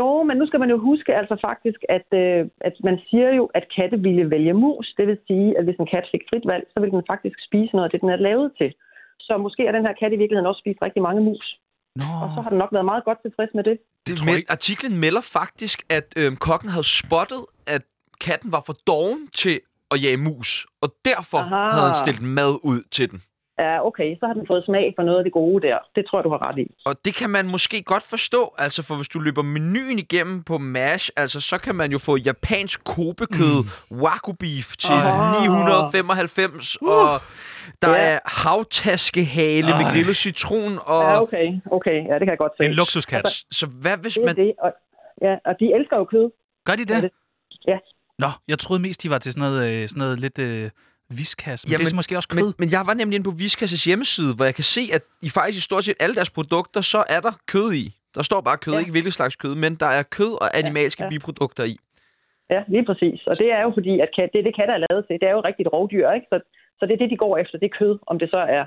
Speaker 5: Jo, men nu skal man jo huske altså faktisk, at, øh, at man siger jo, at katte ville vælge mus. Det vil sige, at hvis en kat fik frit valg, så ville den faktisk spise noget af det, den er lavet til. Så måske har den her kat i virkeligheden også spist rigtig mange mus.
Speaker 2: Nå,
Speaker 5: Og så har den nok været meget godt tilfreds med det.
Speaker 1: Det,
Speaker 2: tror
Speaker 1: men,
Speaker 2: ikke-
Speaker 1: artiklen melder faktisk, at øhm, kokken havde spottet, at katten var for doven til at jage mus, og derfor Aha.
Speaker 5: Aha.
Speaker 1: havde han stillet mad ud til den.
Speaker 5: Ja, okay, så har den fået smag for noget af det gode der. Det tror jeg, du har ret i.
Speaker 1: Og det kan man måske godt forstå, altså for hvis du løber menuen igennem på MASH, altså så kan man jo få japansk kobekød, mm. wagyu beef til
Speaker 2: Ej.
Speaker 1: 995, uh. og der
Speaker 5: Ja.
Speaker 1: er havtaskehale med
Speaker 2: Ej.
Speaker 1: grillet citron, og
Speaker 5: Ja, okay, okay. Ja, det kan jeg godt se.
Speaker 2: en luksuskat.
Speaker 1: så hvad hvis
Speaker 5: Det er
Speaker 1: man...
Speaker 5: det. Og, ja, og de elsker jo kød.
Speaker 2: Gør de
Speaker 5: Ja,
Speaker 2: det?
Speaker 5: det- ja.
Speaker 2: Nå, jeg troede mest, de var til sådan noget, øh, sådan noget lidt øh, viskas. Men
Speaker 1: Jamen,
Speaker 2: det er måske også kød.
Speaker 1: Men, men jeg var nemlig inde på Viskas' hjemmeside, hvor jeg kan se, at i faktisk i stort set alle deres produkter, så er der kød i. Der står bare kød, ja.
Speaker 5: Ja.
Speaker 1: ikke hvilket slags kød, men der er kød og animalske ja,
Speaker 5: ja.
Speaker 1: ja. biprodukter i.
Speaker 5: Ja, lige præcis. Og det er jo fordi, at kat, det er det, katter er lavet til. Det er jo rigtigt rovdyr, ikke? Så, så det er det, de går efter. Det er kød, om det så er,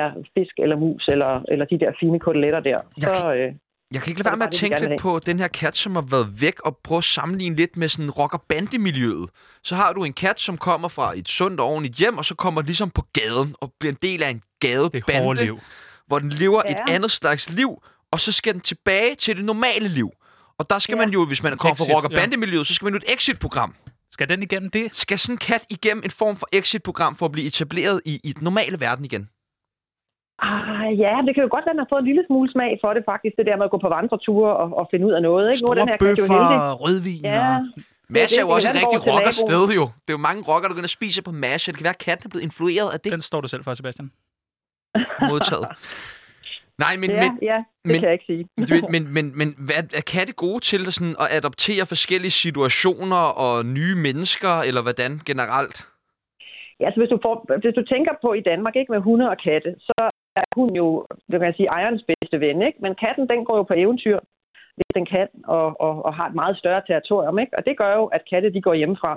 Speaker 5: er fisk eller mus eller, eller de der fine koteletter der. Så, øh,
Speaker 1: Jeg kan ikke
Speaker 5: Så
Speaker 1: lade
Speaker 5: er
Speaker 1: være med at
Speaker 5: det bare det, vi
Speaker 1: tænke
Speaker 5: gerne
Speaker 1: lidt på den her kat, som har været væk, og prøve at sammenligne lidt med sådan rock- og bandemiljøet. Så har du en kat, som kommer fra et sundt og ordentligt hjem, og så kommer ligesom på gaden og bliver en del af en
Speaker 2: det
Speaker 1: gadebande,
Speaker 2: er hårde liv.
Speaker 1: hvor den lever ja. et
Speaker 5: Ja.
Speaker 1: andet slags liv, og så skal den tilbage til det normale liv. Og der skal
Speaker 5: Ja.
Speaker 1: man jo, hvis man kommer fra
Speaker 2: Exit,
Speaker 1: rock- og
Speaker 2: ja.
Speaker 1: bandemiljøet, så skal man jo et exit-program.
Speaker 2: Skal den igennem det?
Speaker 1: Skal sådan en kat igennem en form for exit-program for at blive etableret i, i den normale verden igen?
Speaker 5: ah, ja, det kan jo godt være, at man har fået en lille smule smag for det faktisk. Det der med at gå på vandreture og, og finde ud af noget. Ikke? Nu er
Speaker 2: Store
Speaker 5: den her kat jo heldig.
Speaker 2: bøffer, rødvin
Speaker 5: Ja,
Speaker 2: og...
Speaker 1: Masha er
Speaker 5: det
Speaker 1: jo
Speaker 5: kan
Speaker 1: også et
Speaker 5: være, den
Speaker 1: rigtig
Speaker 5: går til
Speaker 1: rockersted
Speaker 5: naboen.
Speaker 1: jo. Det er jo mange rockere, der begynder at spise på Masha. Det kan være, at katten er blevet influeret af det
Speaker 5: [LAUGHS]
Speaker 2: Den står du selv for, Sebastian.
Speaker 1: modtaget. Nej, men,
Speaker 5: ja,
Speaker 1: men,
Speaker 5: ja, det
Speaker 1: men-
Speaker 5: kan jeg ikke sige.
Speaker 1: Men, du ved, men, men, men hvad, er katte gode til at, sådan, at adoptere forskellige situationer og nye mennesker, eller hvordan generelt?
Speaker 5: Ja, altså hvis du, får, hvis du tænker på i Danmark, ikke med hunde og katte, så er hun jo, det kan jeg sige, ejerens bedste ven, ikke? Men katten, den går jo på eventyr, hvis den kan, og, og, og har et meget større territorium, ikke? Og det gør jo, at katte, de går hjemmefra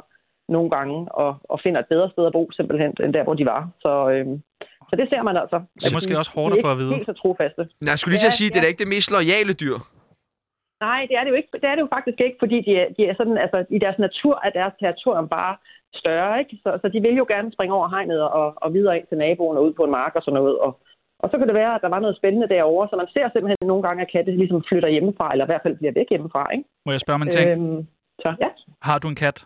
Speaker 5: nogle gange og, og finder et bedre sted at bo, simpelthen, end der, hvor de var. Så, øhm, så det ser man altså.
Speaker 2: Det er måske også hårdt at få at vide.
Speaker 5: Helt så trofaste.
Speaker 1: Nej, jeg skulle lige til at
Speaker 5: Ja,
Speaker 1: sige, det er
Speaker 5: ja.
Speaker 1: da ikke det mest loyale dyr.
Speaker 5: Nej, det er det jo ikke. Det er det jo faktisk ikke, fordi de er, de er sådan, altså, i deres natur er deres territorium bare større, ikke? Så, så de vil jo gerne springe over hegnet og, og videre ind til naboen og ud på en mark og sådan noget. Og, og så kan det være, at der var noget spændende derovre, så man ser simpelthen nogle gange, at katte ligesom flytter hjemmefra, eller i hvert fald bliver væk hjemmefra, ikke?
Speaker 2: Må jeg spørge om en ting?
Speaker 5: Øhm, så ja,
Speaker 2: Har du en kat?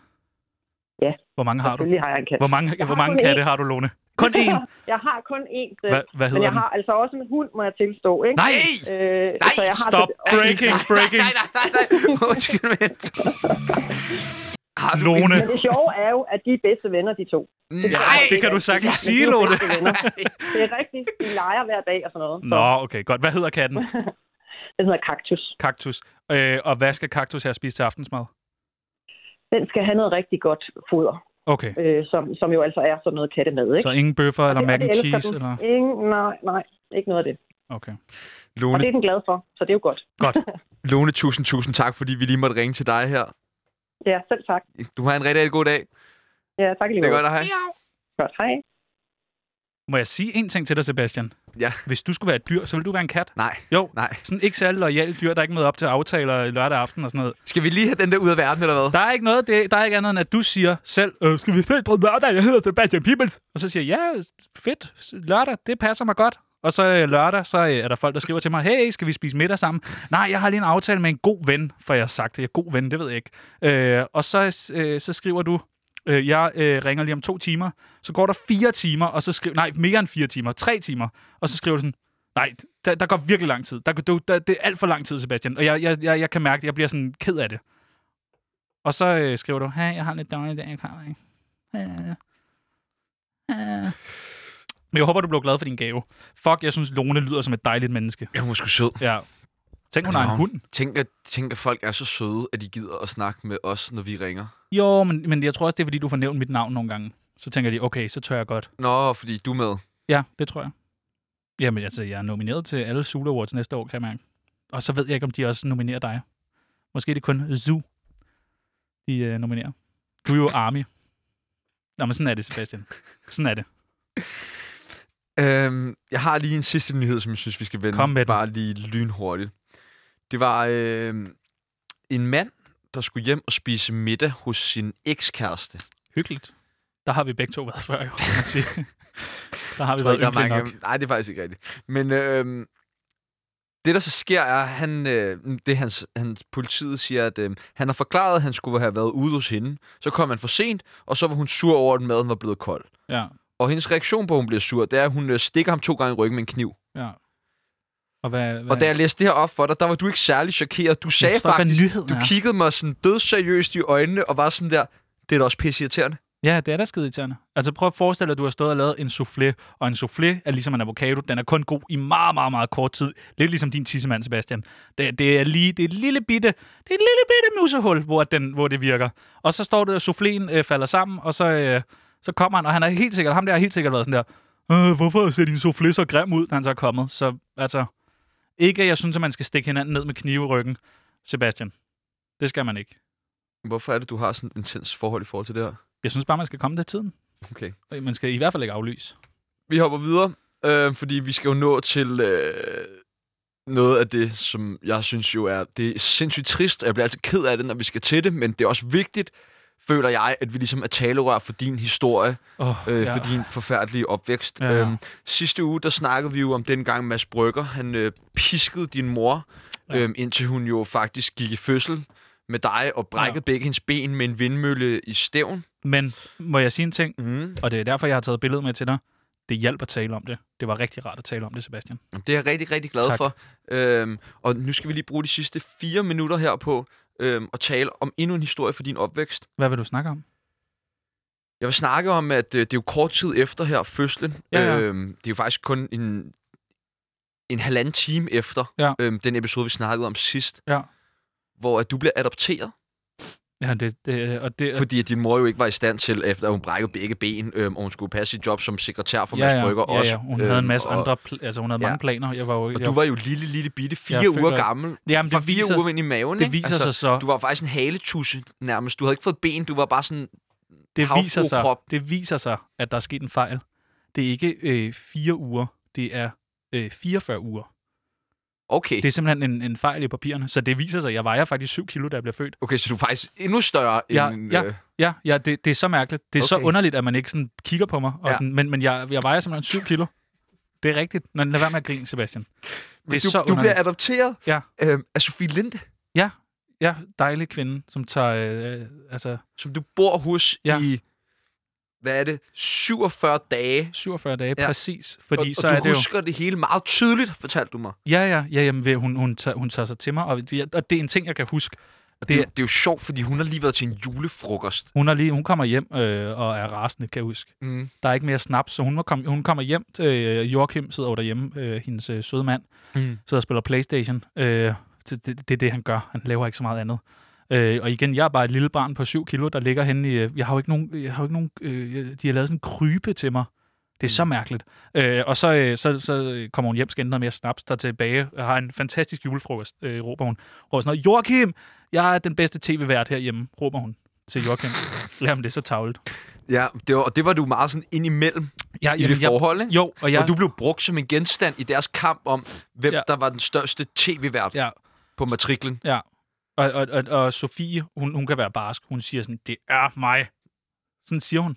Speaker 5: Ja.
Speaker 2: Hvor mange har du?
Speaker 5: selvfølgelig har jeg en kat.
Speaker 2: Hvor mange,
Speaker 5: Jeg
Speaker 2: hvor
Speaker 5: har
Speaker 2: mange
Speaker 5: kun
Speaker 2: katte
Speaker 5: én.
Speaker 2: har du, Lone?
Speaker 5: [LAUGHS]
Speaker 2: Kun én?
Speaker 5: jeg har kun én, selv,
Speaker 2: Hva, hvad
Speaker 5: men
Speaker 2: hedder
Speaker 5: jeg
Speaker 2: den?
Speaker 5: har altså også en hund, må jeg tilstå, ikke?
Speaker 2: Nej!
Speaker 5: Øh,
Speaker 1: Nej,
Speaker 5: så jeg har
Speaker 2: Stop.
Speaker 5: Det,
Speaker 2: Breaking, breaking.
Speaker 1: [LAUGHS] Nej, nej, nej, nej. Undskyld, men...
Speaker 2: [LAUGHS]
Speaker 1: Har du en-
Speaker 2: Lone.
Speaker 5: men det sjove er jo, at de er bedste venner, de to.
Speaker 2: Ja,
Speaker 1: Nej!
Speaker 2: det kan du sagtens
Speaker 5: Men de
Speaker 2: sige,
Speaker 5: er jo
Speaker 2: Lone.
Speaker 5: bedste venner. Det er rigtigt. De leger hver dag og sådan noget. Så
Speaker 2: Nå, okay, godt. Hvad hedder katten?
Speaker 5: Den hedder kaktus.
Speaker 2: Kaktus. Øh, og hvad skal kaktus have at spise til aftensmad?
Speaker 5: Den skal have noget rigtig godt foder,
Speaker 2: Okay,
Speaker 5: øh, som, som jo altså er sådan noget kattemad, ikke?
Speaker 2: så ingen bøffer eller
Speaker 5: Og det- og
Speaker 2: mac
Speaker 5: det
Speaker 2: and
Speaker 5: elsker
Speaker 2: cheese?
Speaker 5: den.
Speaker 2: Eller?
Speaker 5: Ingen, nej, nej. Ikke noget af det.
Speaker 2: Okay.
Speaker 5: Og
Speaker 1: Lone,
Speaker 5: det er den glad for, så det er jo godt.
Speaker 2: Godt.
Speaker 1: Lone, tusind, tusind tak, fordi vi lige måtte ringe til dig her.
Speaker 5: Ja, selv tak.
Speaker 1: Du har en rigtig, rigtig god dag.
Speaker 5: Ja, tak i lige
Speaker 1: Det er
Speaker 5: måde.
Speaker 1: godt at have.
Speaker 5: Godt, hej.
Speaker 2: Må jeg sige en ting til dig, Sebastian?
Speaker 1: Ja.
Speaker 2: Hvis du skulle være et dyr, så ville du være en kat.
Speaker 1: Nej,
Speaker 2: Jo,
Speaker 1: nej.
Speaker 2: sådan ikke særlig lojal dyr, der ikke møder op til aftaler lørdag aften og sådan noget.
Speaker 1: Skal vi lige have den der ud af verden, eller hvad?
Speaker 2: Der er ikke noget, det, der er ikke andet end, at du siger selv, øh, skal vi ses på lørdag, jeg hedder Sebastian Pibels. Og så siger jeg, ja, fedt, lørdag, det passer mig godt. Og så øh, lørdag, så øh, er der folk, der skriver til mig, hey, skal vi spise middag sammen? Nej, jeg har lige en aftale med en god ven, for jeg har sagt det. Jeg er god ven, det ved jeg ikke. Øh, og så, øh, så skriver du, øh, jeg øh, ringer lige om to timer. Så går der fire timer, og så skriver, nej, mere end fire timer, tre timer. Og så skriver du sådan, nej, der, der går virkelig lang tid. Der, der, der, det er alt for lang tid, Sebastian. Og jeg, jeg, jeg, jeg kan mærke, at jeg bliver sådan ked af det. Og så øh, skriver du, hey, jeg har lidt dårlig dag, jeg kommer ikke. Øh, øh. Men jeg håber, du blev glad for din gave. Fuck, jeg synes, Lone lyder som et dejligt menneske.
Speaker 1: Ja, hun er sgu sød.
Speaker 2: Ja. Tænk, hun har en hund.
Speaker 1: Tænk at, tænk, at folk er så søde, at de gider at snakke med os, når vi ringer.
Speaker 2: Jo, men, men jeg tror også, det er, fordi du får nævnt mit navn nogle gange. Så tænker de, okay, så tør jeg godt.
Speaker 1: Nå, fordi du er med.
Speaker 2: Ja, det tror jeg. Jamen, altså, jeg er nomineret til alle Zulu Awards næste år, kan jeg mærke. Og så ved jeg ikke, om de også nominerer dig. Måske er det kun Zoo, de øh, nominerer. Du er jo Army. Nå, men sådan er det, Sebastian. Sådan er det.
Speaker 1: Øhm, jeg har lige en sidste nyhed, som jeg synes, vi skal vende.
Speaker 2: Kom med den.
Speaker 1: Bare lige lynhurtigt. Det var øh, en mand, der skulle hjem og spise middag hos sin ekskæreste.
Speaker 2: Hyggeligt. Der har vi begge to været før, jo, kan man sige. der har vi
Speaker 1: Jeg tror
Speaker 2: været
Speaker 1: ikke, der er
Speaker 2: ynkelige nok.
Speaker 1: mange... Nej, det er faktisk ikke rigtigt. Men øh, det, der så sker, er, at han, øh, det hans, hans politiet siger, at øh, han har forklaret, at han skulle have været ude hos hende. Så kom han for sent, og så var hun sur over, at maden var blevet kold.
Speaker 2: Ja,
Speaker 1: Og hendes reaktion på, at hun bliver sur, det er, at hun øh, stikker ham to gange i ryggen med en kniv.
Speaker 2: ja. Og hvad... hvad?
Speaker 1: Og da jeg læste det her op for dig, der var du ikke særlig chokeret. Du sagde
Speaker 2: forstår ikke, hvad
Speaker 1: faktisk,
Speaker 2: nyheden
Speaker 1: du
Speaker 2: er.
Speaker 1: kiggede mig sådan dødseriøst i øjnene og var sådan der, det er da også pisse irriterende.
Speaker 2: Ja, det er da skide irriterende. Altså prøv at forestille dig, at du har stået og lavet en soufflé, og en soufflé er ligesom en avocado. Den er kun god i meget, meget, meget kort tid. Lidt ligesom din tissemand, Sebastian. Det, det er lige det er et lille bitte, det er et lille bitte musehul, hvor, den, hvor det virker. Og så står det, og souffléen øh, falder sammen, og så, øh, så kommer han, og han er helt sikkert, ham der har helt sikkert været sådan der, øh, hvorfor ser din soufflé så grim ud, da han så er kommet? Så altså, ikke at jeg synes, at man skal stikke hinanden ned med knive i ryggen, Sebastian. Det skal man ikke.
Speaker 1: Hvorfor er det, du har sådan et intens forhold i forhold til det her?
Speaker 2: Jeg synes bare, man skal komme til tiden.
Speaker 1: Okay.
Speaker 2: Man skal i hvert fald ikke aflyse.
Speaker 1: Vi hopper videre, øh, fordi vi skal jo nå til øh, noget af det, som jeg synes jo er, det er sindssygt trist, og jeg bliver altid ked af det, når vi skal til det, men det er også vigtigt, føler jeg, at vi ligesom er talerør for din historie,
Speaker 2: Oh,
Speaker 1: øh, ja. for din forfærdelige opvækst.
Speaker 2: Ja.
Speaker 1: Øhm, sidste uge, der snakkede vi jo om dengang Mads Brygger, han øh, piskede din mor,
Speaker 2: Ja.
Speaker 1: ja. øhm, indtil hun jo faktisk gik i fødsel med dig og brækkede ja. begge hendes ben med en vindmølle i stævn.
Speaker 2: Men må jeg sige en ting,
Speaker 1: Mm.
Speaker 2: og det er derfor, jeg har taget billedet med til dig. Det hjalp at tale om det. Det var rigtig rart at tale om det, Sebastian.
Speaker 1: Det er jeg rigtig, rigtig glad
Speaker 2: Tak.
Speaker 1: tak. for. Øhm, og nu skal vi lige bruge de sidste fire minutter her på øhm, at tale om endnu en historie for din opvækst.
Speaker 2: Hvad vil du snakke om?
Speaker 1: Jeg vil snakke om, at øh, det er jo kort tid efter her, fødslen.
Speaker 2: Ja, ja.
Speaker 1: Øhm, det er jo faktisk kun en en halvanden time efter
Speaker 2: Ja.
Speaker 1: øhm, den episode, vi snakkede om sidst,
Speaker 2: Ja.
Speaker 1: hvor at du bliver adopteret,
Speaker 2: Ja, det, det, og det,
Speaker 1: fordi at din mor jo ikke var i stand til, efter hun brækkede begge ben, øhm, og hun skulle passe sit job som sekretær for Mads Brygger
Speaker 2: ja,
Speaker 1: også. øhm,
Speaker 2: ja. Hun havde en masse
Speaker 1: og,
Speaker 2: andre, pl- altså hun havde
Speaker 1: ja.
Speaker 2: mange planer. Jeg var jo,
Speaker 1: Og
Speaker 2: jeg,
Speaker 1: du var jo lille, lille bitte, fire
Speaker 2: Jeg
Speaker 1: uger
Speaker 2: føler-
Speaker 1: gammel.
Speaker 2: jamen,
Speaker 1: Fra
Speaker 2: det
Speaker 1: fire
Speaker 2: viser,
Speaker 1: uger ind i maven,
Speaker 2: det
Speaker 1: ikke?
Speaker 2: viser
Speaker 1: altså,
Speaker 2: sig så.
Speaker 1: Du var faktisk en haletusse nærmest. Du havde ikke fået ben, du var bare sådan...
Speaker 2: det viser sig,
Speaker 1: havfruekrop.
Speaker 2: det viser sig, at der er sket en fejl. Det er ikke øh, fire uger, det er øh, 44 uger.
Speaker 1: Okay.
Speaker 2: Det er simpelthen en, en fejl i papirerne, så det viser sig, jeg vejer faktisk 7 kilo, da jeg blev født.
Speaker 1: Okay, så du er faktisk endnu større
Speaker 2: Ja,
Speaker 1: end...
Speaker 2: ja.
Speaker 1: Øh,
Speaker 2: Ja, ja det, det er så mærkeligt. Det er okay. så
Speaker 1: Okay.
Speaker 2: underligt, at man ikke sådan kigger på mig, og
Speaker 1: Ja.
Speaker 2: ja. sådan, men, men jeg, jeg vejer simpelthen 7 kilo. Det er rigtigt. Nå, lad være med at grine, Sebastian.
Speaker 1: men
Speaker 2: Det er
Speaker 1: du,
Speaker 2: så
Speaker 1: du bliver
Speaker 2: underligt.
Speaker 1: adopteret
Speaker 2: Ja.
Speaker 1: øh, af Sofie Linde,
Speaker 2: Ja, dejlig kvinde, som tager, øh, altså,
Speaker 1: som du bor hos
Speaker 2: Ja.
Speaker 1: i... Hvad er det? 47 dage.
Speaker 2: 47 dage,
Speaker 1: Ja.
Speaker 2: ja. præcis. Fordi
Speaker 1: og,
Speaker 2: så
Speaker 1: og du
Speaker 2: er det jo...
Speaker 1: husker det hele meget tydeligt, fortalte du mig.
Speaker 2: Ja, ja, ja jamen, ved- hun, hun, tager, hun tager sig til mig, og det, og det er en ting, jeg kan huske.
Speaker 1: Og det,
Speaker 2: Det
Speaker 1: det, er,
Speaker 2: er-
Speaker 1: det er jo sjovt, fordi hun har lige været til en julefrokost.
Speaker 2: Hun, er lige, hun kommer hjem øh, og er rasende, kan jeg huske.
Speaker 1: Mm.
Speaker 2: Der er ikke mere snaps, så hun, må komme, hun kommer hjem. Øh, Joachim sidder jo derhjemme, øh, hendes øh, søde mand,
Speaker 1: Mm.
Speaker 2: sidder og spiller Playstation. Øh, det, det, det er det, han gør. Han laver ikke så meget andet. Øh, og igen, jeg er bare et lille barn på 7 kilo, der ligger henne i... øh, Jeg har jo ikke nogen... Jeg har jo ikke nogen øh, de har lavet sådan en krybe til mig. Det er så
Speaker 1: Mm.
Speaker 2: mærkeligt. Øh, og så, øh, så, så kommer hun hjem, skal hente noget mere snaps, der er tilbage, og har en fantastisk julefrokost, øh, råber hun. Råber sådan noget, Joachim, jeg er den bedste tv-vært herhjemme, råber hun til Joachim. Jamen, det er så tavlet.
Speaker 1: Ja, det var, og det var du meget sådan ind imellem
Speaker 2: Jeg,
Speaker 1: i det forhold, ikke?
Speaker 2: jeg, jo, og jeg,
Speaker 1: Og du blev brugt som en genstand i deres kamp om, hvem ja.
Speaker 2: Ja.
Speaker 1: der var den største tv-vært ja.
Speaker 2: Ja.
Speaker 1: på matriklen.
Speaker 2: Ja. Og, og, og, og Sofie, hun, hun kan være barsk. Hun siger sådan, det er mig. Sådan siger hun.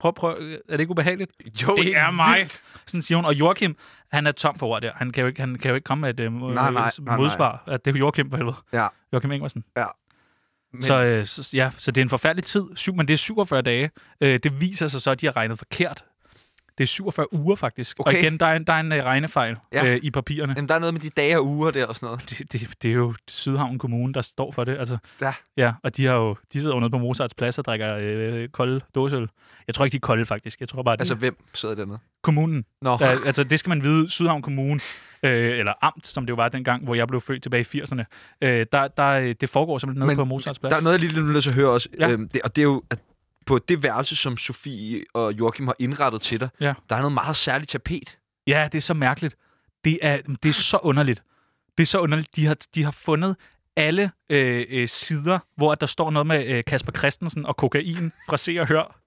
Speaker 2: Prøv, prøv, øh, er det ikke ubehageligt?
Speaker 1: Jo,
Speaker 2: det
Speaker 1: helt
Speaker 2: er mig.
Speaker 1: vildt.
Speaker 2: Sådan siger hun. Og Joachim, han er tom for ord der. Han kan jo ikke, han kan jo ikke komme med et øh,
Speaker 1: Nej, nej, nej, nej.
Speaker 2: modsvar. At det er jo Joachim for helvede.
Speaker 1: Ja.
Speaker 2: Joachim Ingersen.
Speaker 1: Men,
Speaker 2: Men... Så, øh, så, ja, så det er en forfærdelig tid, Syv, men det er 47 dage. Øh, det viser sig så, at de har regnet forkert. Det er 47 uger faktisk.
Speaker 1: Okay.
Speaker 2: Og igen, der er en, der er en øh, regnefejl
Speaker 1: Ja.
Speaker 2: ja. øh, i papirerne.
Speaker 1: jamen, der er noget med de dage og uger der og sådan noget.
Speaker 2: det, det, det er jo Sydhavn Kommune, der står for det. Altså,
Speaker 1: Ja.
Speaker 2: ja. Og de, har jo, de sidder jo nede på Mozarts Plads og drikker øh, kolde dåseøl. Jeg tror ikke, de er kolde, faktisk. Jeg tror bare, at
Speaker 1: Altså,
Speaker 2: altså,
Speaker 1: hvem sidder dernede?
Speaker 2: kommunen.
Speaker 1: Nå,
Speaker 2: Der, altså, det skal man vide. Sydhavn Kommune, øh, eller Amt, som det jo var dengang, hvor jeg blev født tilbage i 80'erne, øh, der, der, øh, det foregår simpelthen nede
Speaker 1: Men
Speaker 2: på Mozarts Plads.
Speaker 1: der er noget, jeg lige nu nødt til at høre også. Ja.
Speaker 2: Ja.
Speaker 1: Øhm, det, og det er jo, at på det værelse, som Sofie og Joachim har indrettet til dig,
Speaker 2: Ja.
Speaker 1: der er noget meget særligt tapet.
Speaker 2: Ja, det er så mærkeligt. Det er, det er så underligt. Det er så underligt. De har, de har fundet alle øh, øh, sider, hvor at der står noget med øh, Kasper Christensen og kokain fra Se og Hør.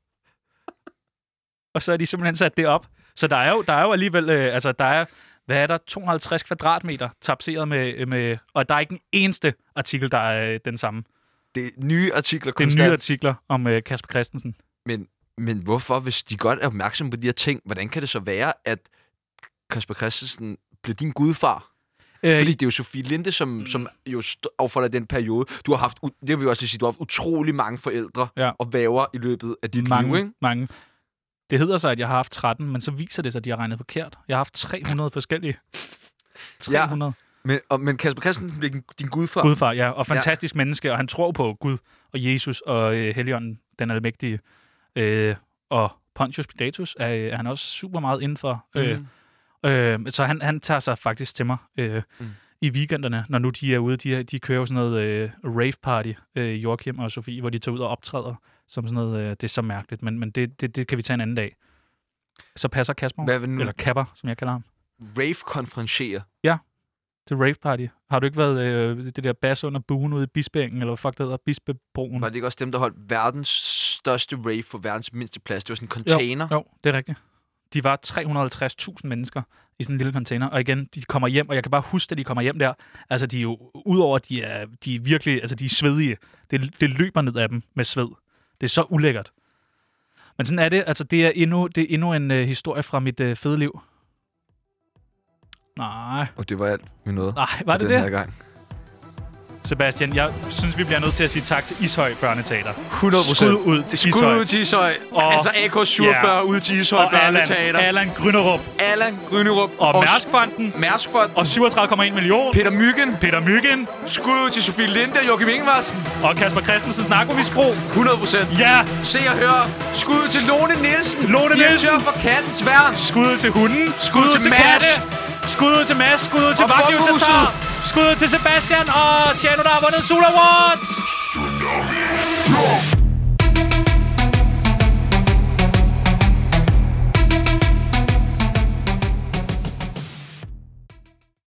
Speaker 2: Og så har de simpelthen sat det op. Så der er jo, der er jo alligevel, øh, altså der er, hvad er der, 250 kvadratmeter tapseret med, øh, med og der er ikke en eneste artikel, der er øh, den samme.
Speaker 1: Det er nye artikler
Speaker 2: Det
Speaker 1: konstant.
Speaker 2: er nye artikler om øh, Kasper Christensen.
Speaker 1: Men hvorfor, hvis de godt er opmærksomme på de her ting, hvordan kan det så være, at Kasper Christensen bliver din gudfar?
Speaker 2: Øh,
Speaker 1: Fordi det er jo Sofie Linde, som, som jo st- affolder den periode. Du har haft, u- det vil jeg også lige sige, du har haft utrolig mange forældre
Speaker 2: Ja.
Speaker 1: og væver i løbet af dit
Speaker 2: mange,
Speaker 1: liv, ikke?
Speaker 2: Mange. Det hedder sig, at jeg har haft 13, men så viser det sig, at de har regnet forkert. Jeg har haft 300 forskellige. 300.
Speaker 1: Men, og, men Kasper Christensen bliver din- din gudfar.
Speaker 2: Ja. Gudfar, ja. Og fantastisk ja. menneske, og han tror på Gud og Jesus og øh, Helligånden, den almægtige. Øh, og Pontius Pilatus er, øh, er han også super meget inden for. Øh,
Speaker 1: Mm.
Speaker 2: Øh, så han, han tager sig faktisk til mig øh,
Speaker 1: Mm.
Speaker 2: mm. i weekenderne, når nu de er ude. De, er- de kører jo sådan noget øh, rave party, øh, Joachim og Sofie, hvor de tager ud og optræder. Som sådan noget, øh, det er så mærkeligt, men, men det, det, det kan vi tage en anden dag. Så passer Kasper,
Speaker 1: Hvad vil nu
Speaker 2: eller Kapper, som jeg kalder ham,
Speaker 1: rave konfrontere?
Speaker 2: til rave party. Har du ikke været øh, det der bas under buen ude i Bispeengen, eller hvad fuck det hedder, Bispebroen?
Speaker 1: Var det ikke også dem, der holdt verdens største rave for verdens mindste plads? Det var sådan en container.
Speaker 2: Jo, det er rigtigt. De var 350.000 mennesker i sådan en lille container. Og igen, de kommer hjem, og jeg kan bare huske, at de kommer hjem der. Altså, de er jo, udover at de er, de er virkelig, altså de er svedige. Det, det løber ned af dem med sved. Det er så ulækkert. Men sådan er det. Altså, det er endnu, det er endnu en øh, historie fra mit øh, fede liv. Nej,
Speaker 1: Og det var alt, vi nåede.
Speaker 2: nej, var det det?
Speaker 1: gang.
Speaker 2: Sebastian, jeg synes, vi bliver nødt til at sige tak til Ishøj Børneteater.
Speaker 1: 100 procent.
Speaker 2: Skud ud til
Speaker 1: Skud
Speaker 2: Ishøj.
Speaker 1: ud til Ishøj.
Speaker 2: Og-
Speaker 1: altså AK47
Speaker 2: Ja.
Speaker 1: ud til Ishøj
Speaker 2: Og Allan,
Speaker 1: Børneteater.
Speaker 2: Allan Grønnerup
Speaker 1: Allan Grynerup.
Speaker 2: og Mærskfonden
Speaker 1: Mærskfond.
Speaker 2: og 37,1 millioner.
Speaker 1: Peter Myggen.
Speaker 2: Peter Myggen
Speaker 1: Skud ud til Sofie Linde og Joachim Ingevarsen.
Speaker 2: og Kasper Christensens narkomisbrug.
Speaker 1: 100 procent.
Speaker 2: Ja,
Speaker 1: Se og hør. Skud til Lone Nielsen.
Speaker 2: Lone
Speaker 1: direktør
Speaker 2: Nielsen.
Speaker 1: for Kattens Værn.
Speaker 2: skud til hunden, skud,
Speaker 1: til
Speaker 2: til,
Speaker 1: Mads.
Speaker 2: katte, skud, Skud ud til Mads, skud ud til
Speaker 1: Og
Speaker 2: Vakliv, der
Speaker 1: Bokhuset.
Speaker 2: tager. Skud ud til Sebastian og Tjano, der har vundet Sula Awards.
Speaker 6: Tsunami.